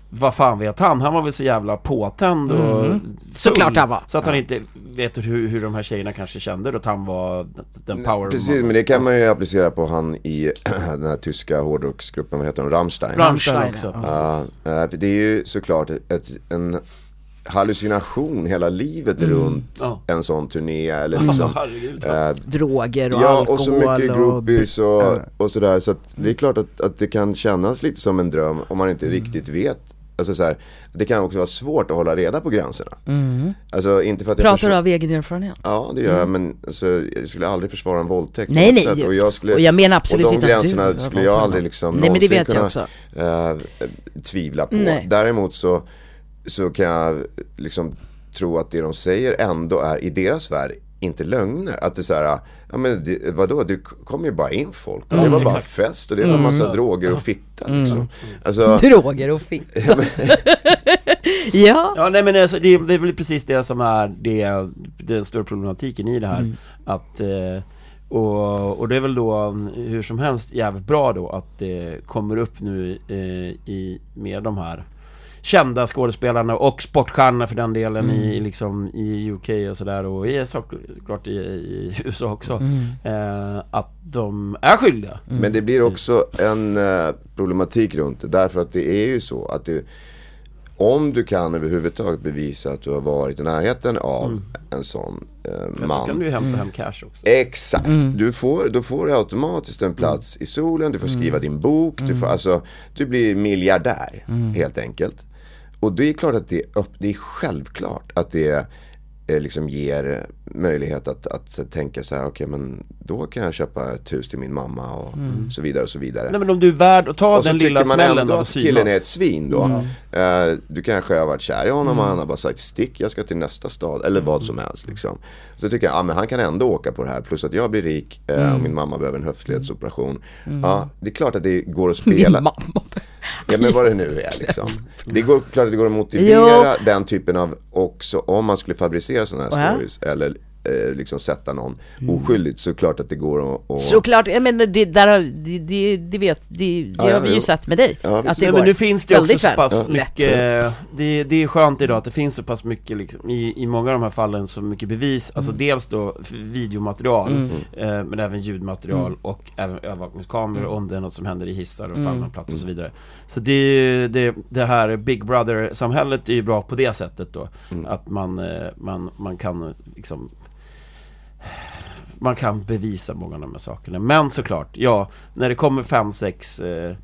S2: vad fan vet han? Han var väl så jävla påtänd och full,
S8: Mm. Såklart han var.
S2: Så att han inte vet hur, hur de här tjejerna kanske kände då, att han var den power
S4: Precis, men det kan man ju applicera på han i [clears throat] den här tyska hårdrocksgruppen, vad heter de, Rammstein?
S2: Rammstein också.
S4: Ja,
S2: precis.
S4: eh, för det är ju såklart ett, en hallucination hela livet runt
S2: Ja.
S4: en sån turné eller liksom
S2: Herregud. alltså.
S4: eh,
S8: Droger och
S4: Ja,
S8: alkohol
S4: och så mycket
S8: och...
S4: groupies och, och sådär. Så att det är klart att, att det kan kännas lite som en dröm om man inte riktigt vet. Alltså så här, det kan också vara svårt att hålla reda på gränserna. Alltså inte för att jag
S8: Pratar du
S4: försvar-
S8: av egen erfarenhet? [laughs]
S4: Ja, det gör jag, men alltså, jag skulle aldrig försvara en våldtäkt. på
S8: Mm. Nej,
S4: något
S8: nej.
S4: sätt. Och jag, skulle,
S8: Och jag menar absolut
S4: och de
S8: inte att
S4: gränserna
S8: du-
S4: skulle jag aldrig liksom
S8: Nej, men det
S4: någonsin
S8: vet jag
S4: kunna,
S8: också.
S4: eh, tvivla på.
S8: Nej.
S4: Däremot så, så kan jag liksom tro att det de säger ändå är i deras värld inte lögner. Att det är så här, ja men det, vadå, det kom ju bara in folk. Och det var bara fest och det var massa
S8: Mm.
S4: droger och fitta liksom. Alltså,
S8: Droger och fitta. [laughs] ja.
S2: Ja, nej men alltså, det, det är väl precis det som är det, den stora problematiken i det här. Att, eh, och, och det är väl då mm, hur som helst jävligt bra då att det kommer upp nu eh, i, med de här kända skådespelarna och sportstjärnorna för den delen i, liksom, i UK och sådär och i, såklart i, i USA också. Eh, att de är skyldiga.
S4: Men det blir också en eh, problematik runt det. Därför att det är ju så att det, om du kan överhuvudtaget bevisa att du har varit i närheten av en sån eh,
S2: Då kan
S4: man.
S2: du ju hämta hem cash också.
S4: Exakt, du får, då får du automatiskt en plats i solen, du får skriva din bok, du, får, alltså, du blir miljardär helt enkelt. Och det är klart att det är, upp, det är självklart att det eh, liksom ger möjlighet att, att tänka så här, okej men då kan jag köpa ett hus till min mamma och så vidare och så vidare.
S2: Nej men om du är värd att ta
S4: Och så
S2: den
S4: tycker
S2: lilla
S4: man
S2: smällen
S4: ändå
S2: av att
S4: att killen är ett
S2: synas. Mm.
S4: svin då. Eh, du kanske har varit kär i honom och han har bara sagt stick, jag ska till nästa stad eller vad
S2: Mm.
S4: som helst. Liksom. Så tycker jag, ah, men han kan ändå åka på det här. Plus att jag blir rik eh, och
S2: Mm.
S4: min mamma behöver en höftledsoperation. Ja, det är klart att det går att
S8: Min
S4: spela.
S8: mamma.
S4: Ja men vad det nu är liksom. Det går klart att det går att motivera den typen av också om man skulle fabricera sådana här
S8: Ja.
S4: stories. Eller eh, liksom sätta någon
S2: Mm.
S4: oskyldigt så klart att det går att... att
S8: Såklart, jag menar det, där, har- det, det, det vet, det, det
S4: Ja, ja,
S8: har vi ju
S4: jo.
S8: sett med dig.
S4: Ja,
S8: att
S4: precis.
S8: det
S2: Nej,
S8: går
S2: men nu finns det ju också
S8: väldigt Mm.
S2: så
S8: väl.
S2: pass
S8: Ja.
S2: mycket, eh, det, det är skönt idag att det finns så pass mycket liksom, i, i många av de här fallen så mycket bevis, alltså
S8: Mm.
S2: dels då f- videomaterial eh, men även ljudmaterial
S8: Mm.
S2: och även övervakningskameror om det är något som händer i hissar och på allmän plats och så vidare. Så det, är ju- det, det här Big Brother-samhället är ju bra på det sättet då, att man, eh, man, man kan eh, liksom man kan bevisa många av de här sakerna. Men såklart, ja, när det kommer fem, sex eh,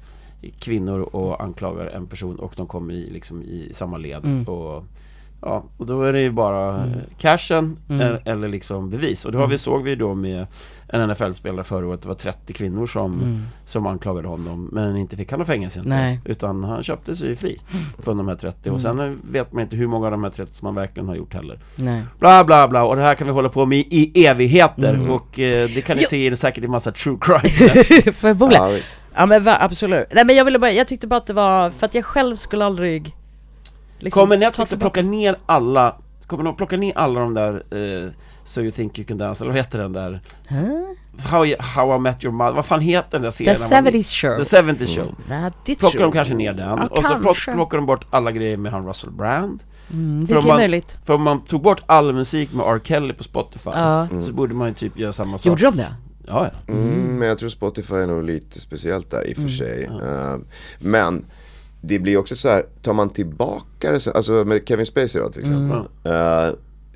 S2: kvinnor och anklagar en person och de kommer i, liksom, i samma led och Ja, och då är det ju bara mm. cashen eh, eller liksom bevis. Och det har vi, såg vi då med en NFL-spelare förra året, det var 30 kvinnor som,
S8: Mm.
S2: som anklagade honom men inte fick han något fängelse inte.
S8: Nej.
S2: Utan han köpte sig fri från de här 30 och sen eh, vet man inte hur många av de här 30 som han verkligen har gjort heller.
S8: Nej.
S2: Bla bla bla och det här kan vi hålla på med i evigheter
S4: Mm.
S2: och eh, det kan ni se i- säkert i massa true
S1: [laughs]
S8: [laughs]
S2: crime
S8: Förmodligen.
S4: Ja, visst.
S8: Ja men va, absolut. Nej men jag ville bara, jag tyckte bara att det var, för att jag själv skulle aldrig liksom,
S2: Kommer
S8: ta
S1: Typ
S2: Netflix att
S8: tillbaka-
S2: plocka ner alla kommer de plocka ner alla de där eh, So you think you can dance, eller vad heter den där? How, I- How I met your mother, vad fan heter den där
S1: The
S2: serien?
S1: 70s show.
S2: The 70 show.
S4: Mm.
S1: Ja, ditt
S2: Plockar de
S1: show.
S2: kanske ner den,
S1: Ja,
S2: och så
S1: kanske.
S2: plock, plockar de bort alla grejer med han Russell Brand.
S1: Mm, Det
S2: För om
S1: är
S2: man-
S1: möjligt.
S2: För om man tog bort all musik med R. Kelly på Spotify,
S1: Ja.
S2: så borde man ju typ göra samma sak.
S1: Gjorde de det?
S2: Ja, ja.
S4: Mm, men jag tror Spotify är nog lite speciellt där i och
S1: Mm.
S4: för sig. Eh, men det blir också så här, tar man tillbaka det sen, alltså med Kevin Spacey då till exempel.
S1: Mm.
S4: eh,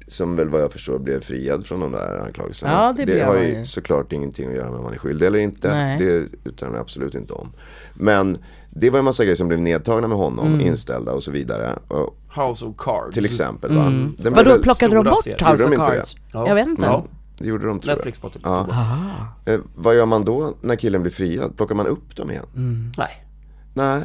S4: som väl vad jag förstår blev friad från de där anklagelserna.
S1: Ja, det blev
S4: har
S1: han
S4: ju
S1: ju.
S4: såklart ingenting att göra med om han är skyldig eller inte.
S1: Nej.
S4: Det uttalar jag absolut inte om. Men det var en massa grejer som blev nedtagna med honom,
S1: Mm.
S4: inställda och så vidare. Och,
S2: House of Cards.
S4: till exempel va. Den blev
S1: Mm. Vadå,
S4: väldigt-
S1: plockade de
S2: stora
S1: bort
S2: serier.
S4: Gjorde
S1: House
S4: de
S1: of
S4: inte det?
S1: Cards?
S2: Ja.
S1: Jag vet inte.
S2: Ja.
S4: Det gjorde de tror jag.
S2: Netflix Spotify.
S4: Ja. Eh, vad gör man då när killen blir friad? Plockar man upp dem igen?
S2: Nej.
S4: Nej.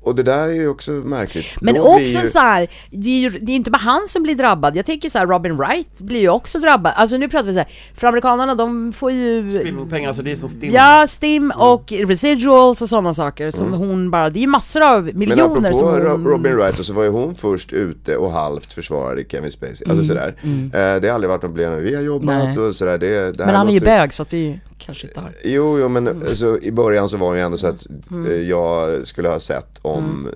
S4: och det där är ju också märkligt.
S1: Men
S4: Då blir
S1: också
S4: ju,
S1: så här, det är ju det är inte bara han som blir drabbad. Jag tänker så här, Robin Wright blir ju också drabbad. Alltså nu pratar vi så här, för amerikanerna de får ju
S2: Filmpengar, så alltså det är som stim.
S1: Ja, STIM
S4: Mm.
S1: och residuals och sådana saker som hon bara, det är ju massor av
S4: Men
S1: miljoner
S4: apropå
S1: som hon...
S4: Ro- Robin Wright så var ju hon först ute och halvt försvarade Kevin Spacey.
S1: Mm.
S4: Alltså sådär. Eh, det har aldrig varit någon problem när vi har jobbat och sådär. Det, det här
S1: men han är ju
S4: låter-
S1: bög så att det är ju kanske inte har...
S4: Jo, jo men
S1: Mm.
S4: alltså, i början så var det ju ändå så att eh, jag skulle ha sett om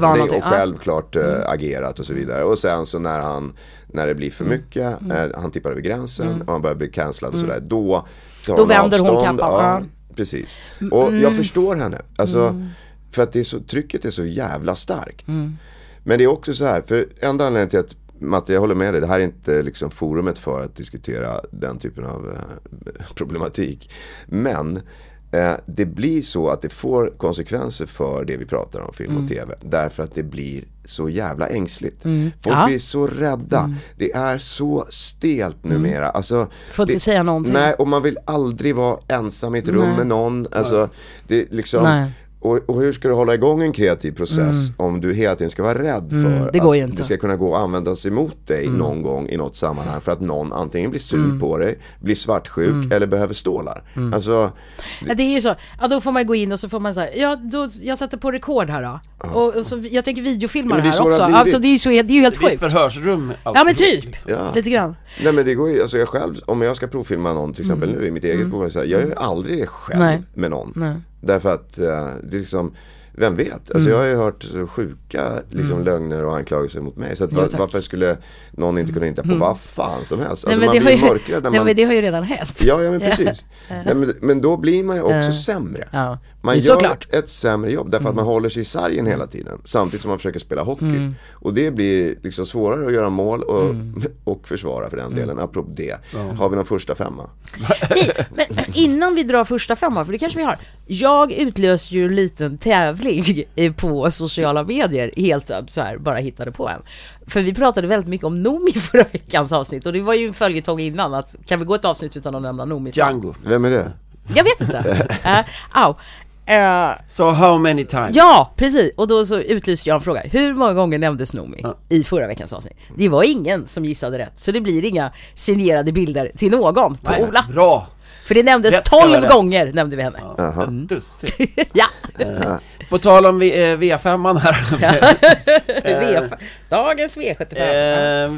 S1: var någonting,
S4: och
S1: ja. Mm.
S4: självklart eh, agerat och så vidare. Och sen så när han, när det blir för
S1: Mm.
S4: mycket, eh, han tippar över gränsen och han börjar bli cancellad och sådär. Då tar
S1: Då
S4: hon
S1: vänder hon
S4: avstånd.
S1: kappan,
S4: Ja,
S1: ja. Mm.
S4: precis. Och jag förstår henne. Alltså, för att det är så, trycket är så jävla starkt.
S1: Mm.
S4: Men det är också så här, för enda anledningen till att Matte, jag håller med dig. Det här är inte liksom forumet för att diskutera den typen av eh, [laughs] problematik. Men eh, det blir så att det får konsekvenser för det vi pratar om, film
S1: Mm.
S4: och tv. Därför att det blir så jävla ängsligt. Folk
S1: Mm. Ja. Mm.
S4: blir så rädda. Det är så stelt numera. Alltså,
S1: Får inte
S4: det,
S1: säga någonting.
S4: Nej, och man vill aldrig vara ensam i ett rum med någon. Alltså, det är liksom...
S1: Nej. Mm.
S4: Och, och hur ska du hålla igång en kreativ process om du hela tiden ska vara rädd för
S1: det går
S4: att
S1: ju inte. Mm.
S4: det ska kunna gå att användas emot dig någon gång i något sammanhang för att någon antingen blir sur på dig, blir svartsjuk
S1: Mm.
S4: eller behöver stålar. Alltså,
S1: Ja, det är ju så, ja då får man gå in och så får man så här, ja då, jag sätter på rekord här då. Och, och så, jag tänker videofilma
S4: Jo,
S1: det
S4: det är så
S1: här
S4: det
S1: också.
S4: har
S1: Ja,
S4: blivit.
S1: så det är ju så, det är ju helt
S2: Det blir ett
S1: sjukt.
S2: förhörsrum.
S1: Ja
S2: alltid,
S1: men typ,
S2: liksom.
S4: Ja. Alltså,
S1: lite grann.
S4: nej men det går ju, alltså jag själv, om jag ska provfilma någon till exempel nu i mitt eget bolag, så här, jag gör aldrig det själv
S1: Mm. Nej.
S4: med någon. Därför att eh, det är liksom, vem vet? Alltså
S1: Mm.
S4: jag har ju hört så sjuka liksom, lögner och anklagelser mot mig. Så att, va- varför skulle någon inte kunna hitta på vad fan som helst? Alltså
S1: Mm. nej,
S4: man
S1: men
S4: blir ju
S1: har ju,
S4: mörkrädd när
S1: nej,
S4: man
S1: men det har ju redan hänt.
S4: Ja, ja men precis. Nej, men, men då blir man ju också sämre.
S1: Ja.
S4: Man
S1: Det är
S4: gör
S1: såklart. Mm.
S4: ett sämre jobb därför att man håller sig i sargen hela tiden samtidigt som man försöker spela hockey. Och det blir liksom svårare att göra mål och,
S1: Mm.
S4: [laughs] och försvara för den delen. Apropå det, har vi någon första femma?
S1: Nej, men innan vi drar första femman, för det kanske vi har. Jag utlöste ju en liten tävling eh, på sociala medier, helt eh, så här, bara hittade på en. För vi pratade väldigt mycket om Nomi [laughs] i förra veckans avsnitt och det var ju en följetong innan att kan vi gå ett avsnitt utan att nämna Nomi?
S2: Django.
S4: Vem är det?
S1: Jag vet inte. Eh, au. Eh,
S2: So how many times?
S1: ja, precis. Och då så utlyste jag en fråga. Hur många gånger nämndes Nomi i förra veckans avsnitt? Det var ingen som gissade rätt, så det blir inga signerade bilder till någon på
S2: Nej,
S1: Ola.
S2: Bra!
S1: För det nämndes
S2: Rätt ska vara
S1: 12
S2: rätt.
S1: gånger nämnde vi henne. [laughs]
S2: Dustigt.
S1: Ja,
S2: På tal om vi- eh, V5an här.
S1: [laughs] V- dagens V75.
S2: eh,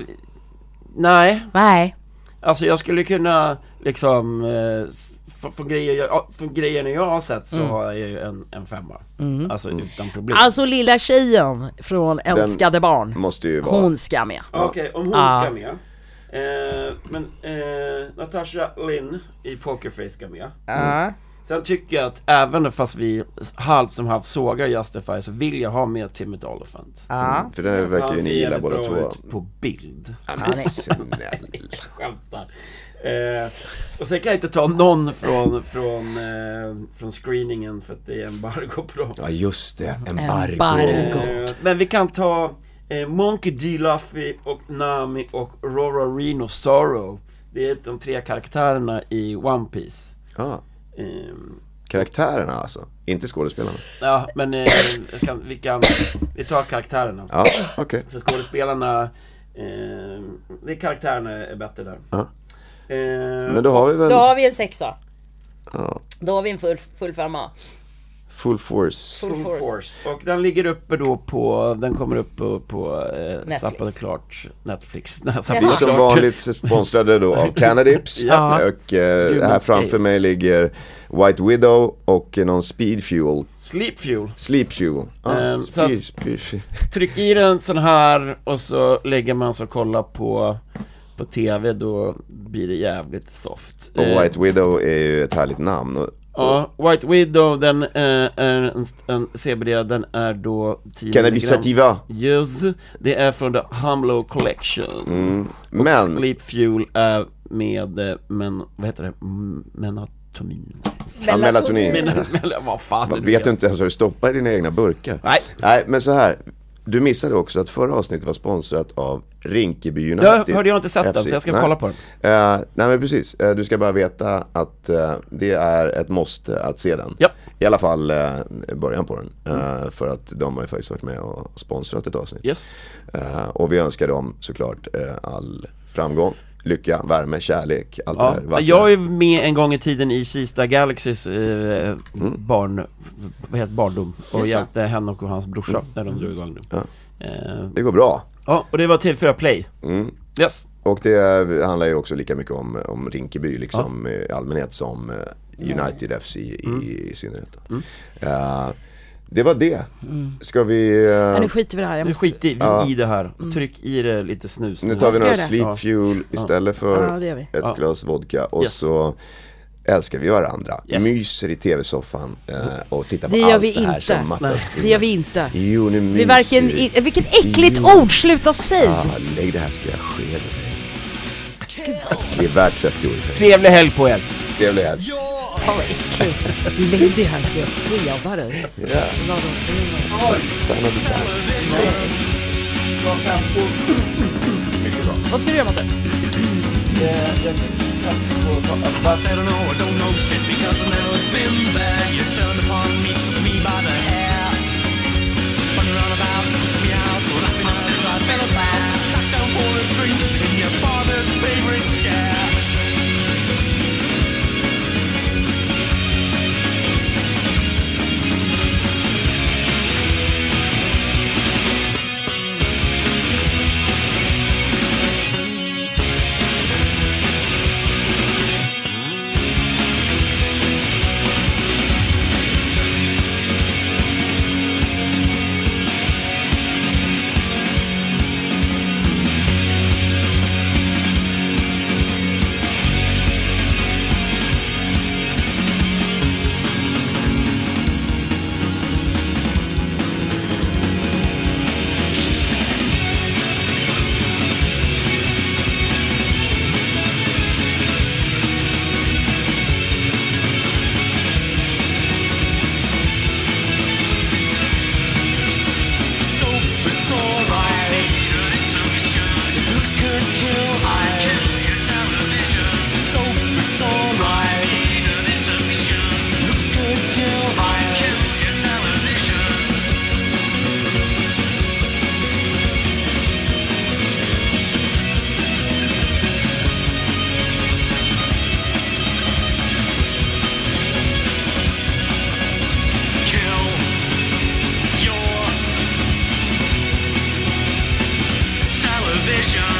S2: nej,
S1: Nej.
S2: alltså jag skulle kunna liksom, eh, s- f- från grejer, jag, ja, från grejerna jag har sett så har jag ju en, en femma. Alltså utan problem.
S1: Mm. Alltså lilla tjejen från Älskade barn,
S4: Måste ju vara...
S1: hon ska med.
S2: Okej, om hon
S1: Ja.
S2: ska med. Eh, men eh, Natasha Lynn i Pokerface ska med.
S1: Ja.
S2: Sen tycker jag att även fast vi halvt som halvt sågar Justify så vill jag ha med Timothy Olyphant.
S1: Ja.
S4: För det verkar ju
S2: Han
S4: ni
S2: ser
S4: gilla
S2: jävligt
S4: båda
S2: bra
S4: två.
S2: ut På bild.
S4: Ja, men snälla.
S2: Skämtar. Eh, och sen kan jag inte ta någon från, från, eh, från screeningen för att det är embargo på dem.
S4: Ja just det, embargo.
S1: Embargo.
S2: Eh, men vi kan ta eh, Monkey D. Luffy och Nami och Rora Reno Sorrow. Det är de tre karaktärerna i One Piece.
S4: Ja,
S2: Ehm,
S4: karaktärerna alltså, inte skådespelarna.
S2: Ja, men eh, jag kan, vi kan, vi tar karaktärerna.
S4: Ja, okej.
S2: För skådespelarna, eh, det är karaktärerna är bättre där.
S4: Ja.
S2: Eh,
S4: Men då har vi väl...
S1: Då har vi en sexa.
S4: Ja.
S1: Då har vi en full, full femma.
S4: Full force.
S2: Full Force. Och den ligger uppe då på, den kommer upp på, på eh, Zappade Klart Netflix. [laughs] Nej, Zappade
S4: Vi är som
S2: Klart.
S4: vanligt sponsrade då av Canadips.
S2: Ja.
S4: Och eh, här
S2: Human
S4: framför mig
S2: Escapes.
S4: ligger White Widow och eh, någon Speed Fuel.
S2: Sleep Fuel.
S4: Sleep Fuel. Ah,
S2: Ehm, så att-
S4: speed, speed.
S2: Tryck i den sån här och så lägger man sig och kollar på, på TV, då blir det jävligt soft.
S4: Och
S2: Eh,
S4: White Widow är ju ett härligt namn. Och
S2: Ja, White Widow, den eh, är en, en CBD, den är då 10
S4: Cannabis
S2: milligram.
S4: sativa.
S2: Yes, det är från The Humlow Collection.
S4: Mm. Men
S2: Sleep Fuel är med, eh, men, vad heter det, Mm, menatomin? [laughs]
S4: Ja, melatonin.
S2: Men, men, vad fan är det?
S4: Vet du inte ens vad du stoppar i dina egna burkar?
S2: Nej.
S4: Nej, men så här. Du missade också att förra avsnittet var sponsrat av Rinkeby United.
S2: Jag hörde, jag har inte sett den, så jag ska kolla på den.
S4: Eh, nej men precis, Eh, du ska bara veta att eh, det är ett måste att se den.
S2: Japp.
S4: I alla fall eh, början på den. Eh, För att de har ju faktiskt varit med och sponsrat ett avsnitt.
S2: Yes.
S4: Eh, och vi önskar dem såklart eh, all framgång, lycka, värme, kärlek, allt det
S2: Ja.
S4: här vackra.
S2: Jag är med en gång i tiden i Kista Galaxys eh,
S4: Mm.
S2: barn, vad heter barndom och hjälpte henne och hans brorsa
S4: Mm.
S2: när de drog igång det. Eh,
S4: Det går bra.
S2: ja, och det var till för play.
S4: Mm.
S2: Yes.
S4: Och det handlar ju också lika mycket om, om Rinkeby liksom, i allmänhet som eh, United FC i, i synnerhet. då. Eh, det var det. Ska vi... eh,
S8: Men nu skiter vi i det här. Jag
S2: Nu
S8: måste...
S2: skiter vi i det här. Tryck i det lite snus.
S4: Nu tar vi några
S8: Mm. jag det?
S4: sleep fuel istället för
S8: Ja, det gör vi.
S4: ett glas vodka och
S2: Yes.
S4: så älskar vi varandra.
S2: Yes.
S4: Myser i tv-soffan eh, och tittar på
S8: Det gör
S4: allt
S8: vi
S4: det här
S8: inte.
S4: som Mattas
S8: Det gör vi inte.
S4: Jo, nu myser
S8: Vi varken... i- eh, Vilket äckligt
S4: Jo.
S8: ord! Sluta säg!
S4: Ah, lägg det här ska jag ske dig. Det är värt 30 år i fängelse.
S2: Trevlig helg på er.
S4: Trevlig helg.
S8: Fan vad äckligt. Lägg dig här ska jag skeva dig. Vad ska du göra Matte?
S5: I don't know, I don't know shit because I've never been there. You turned upon me, took me by the hair. Spun around about, pushed me out, laughing eyes, I fell back. Sat down for a drink in your father's favorite chair. Soap is alright. It looks good, kill I kill your television. Soap is alright. Looks good, kill I kill your television. Kill your television.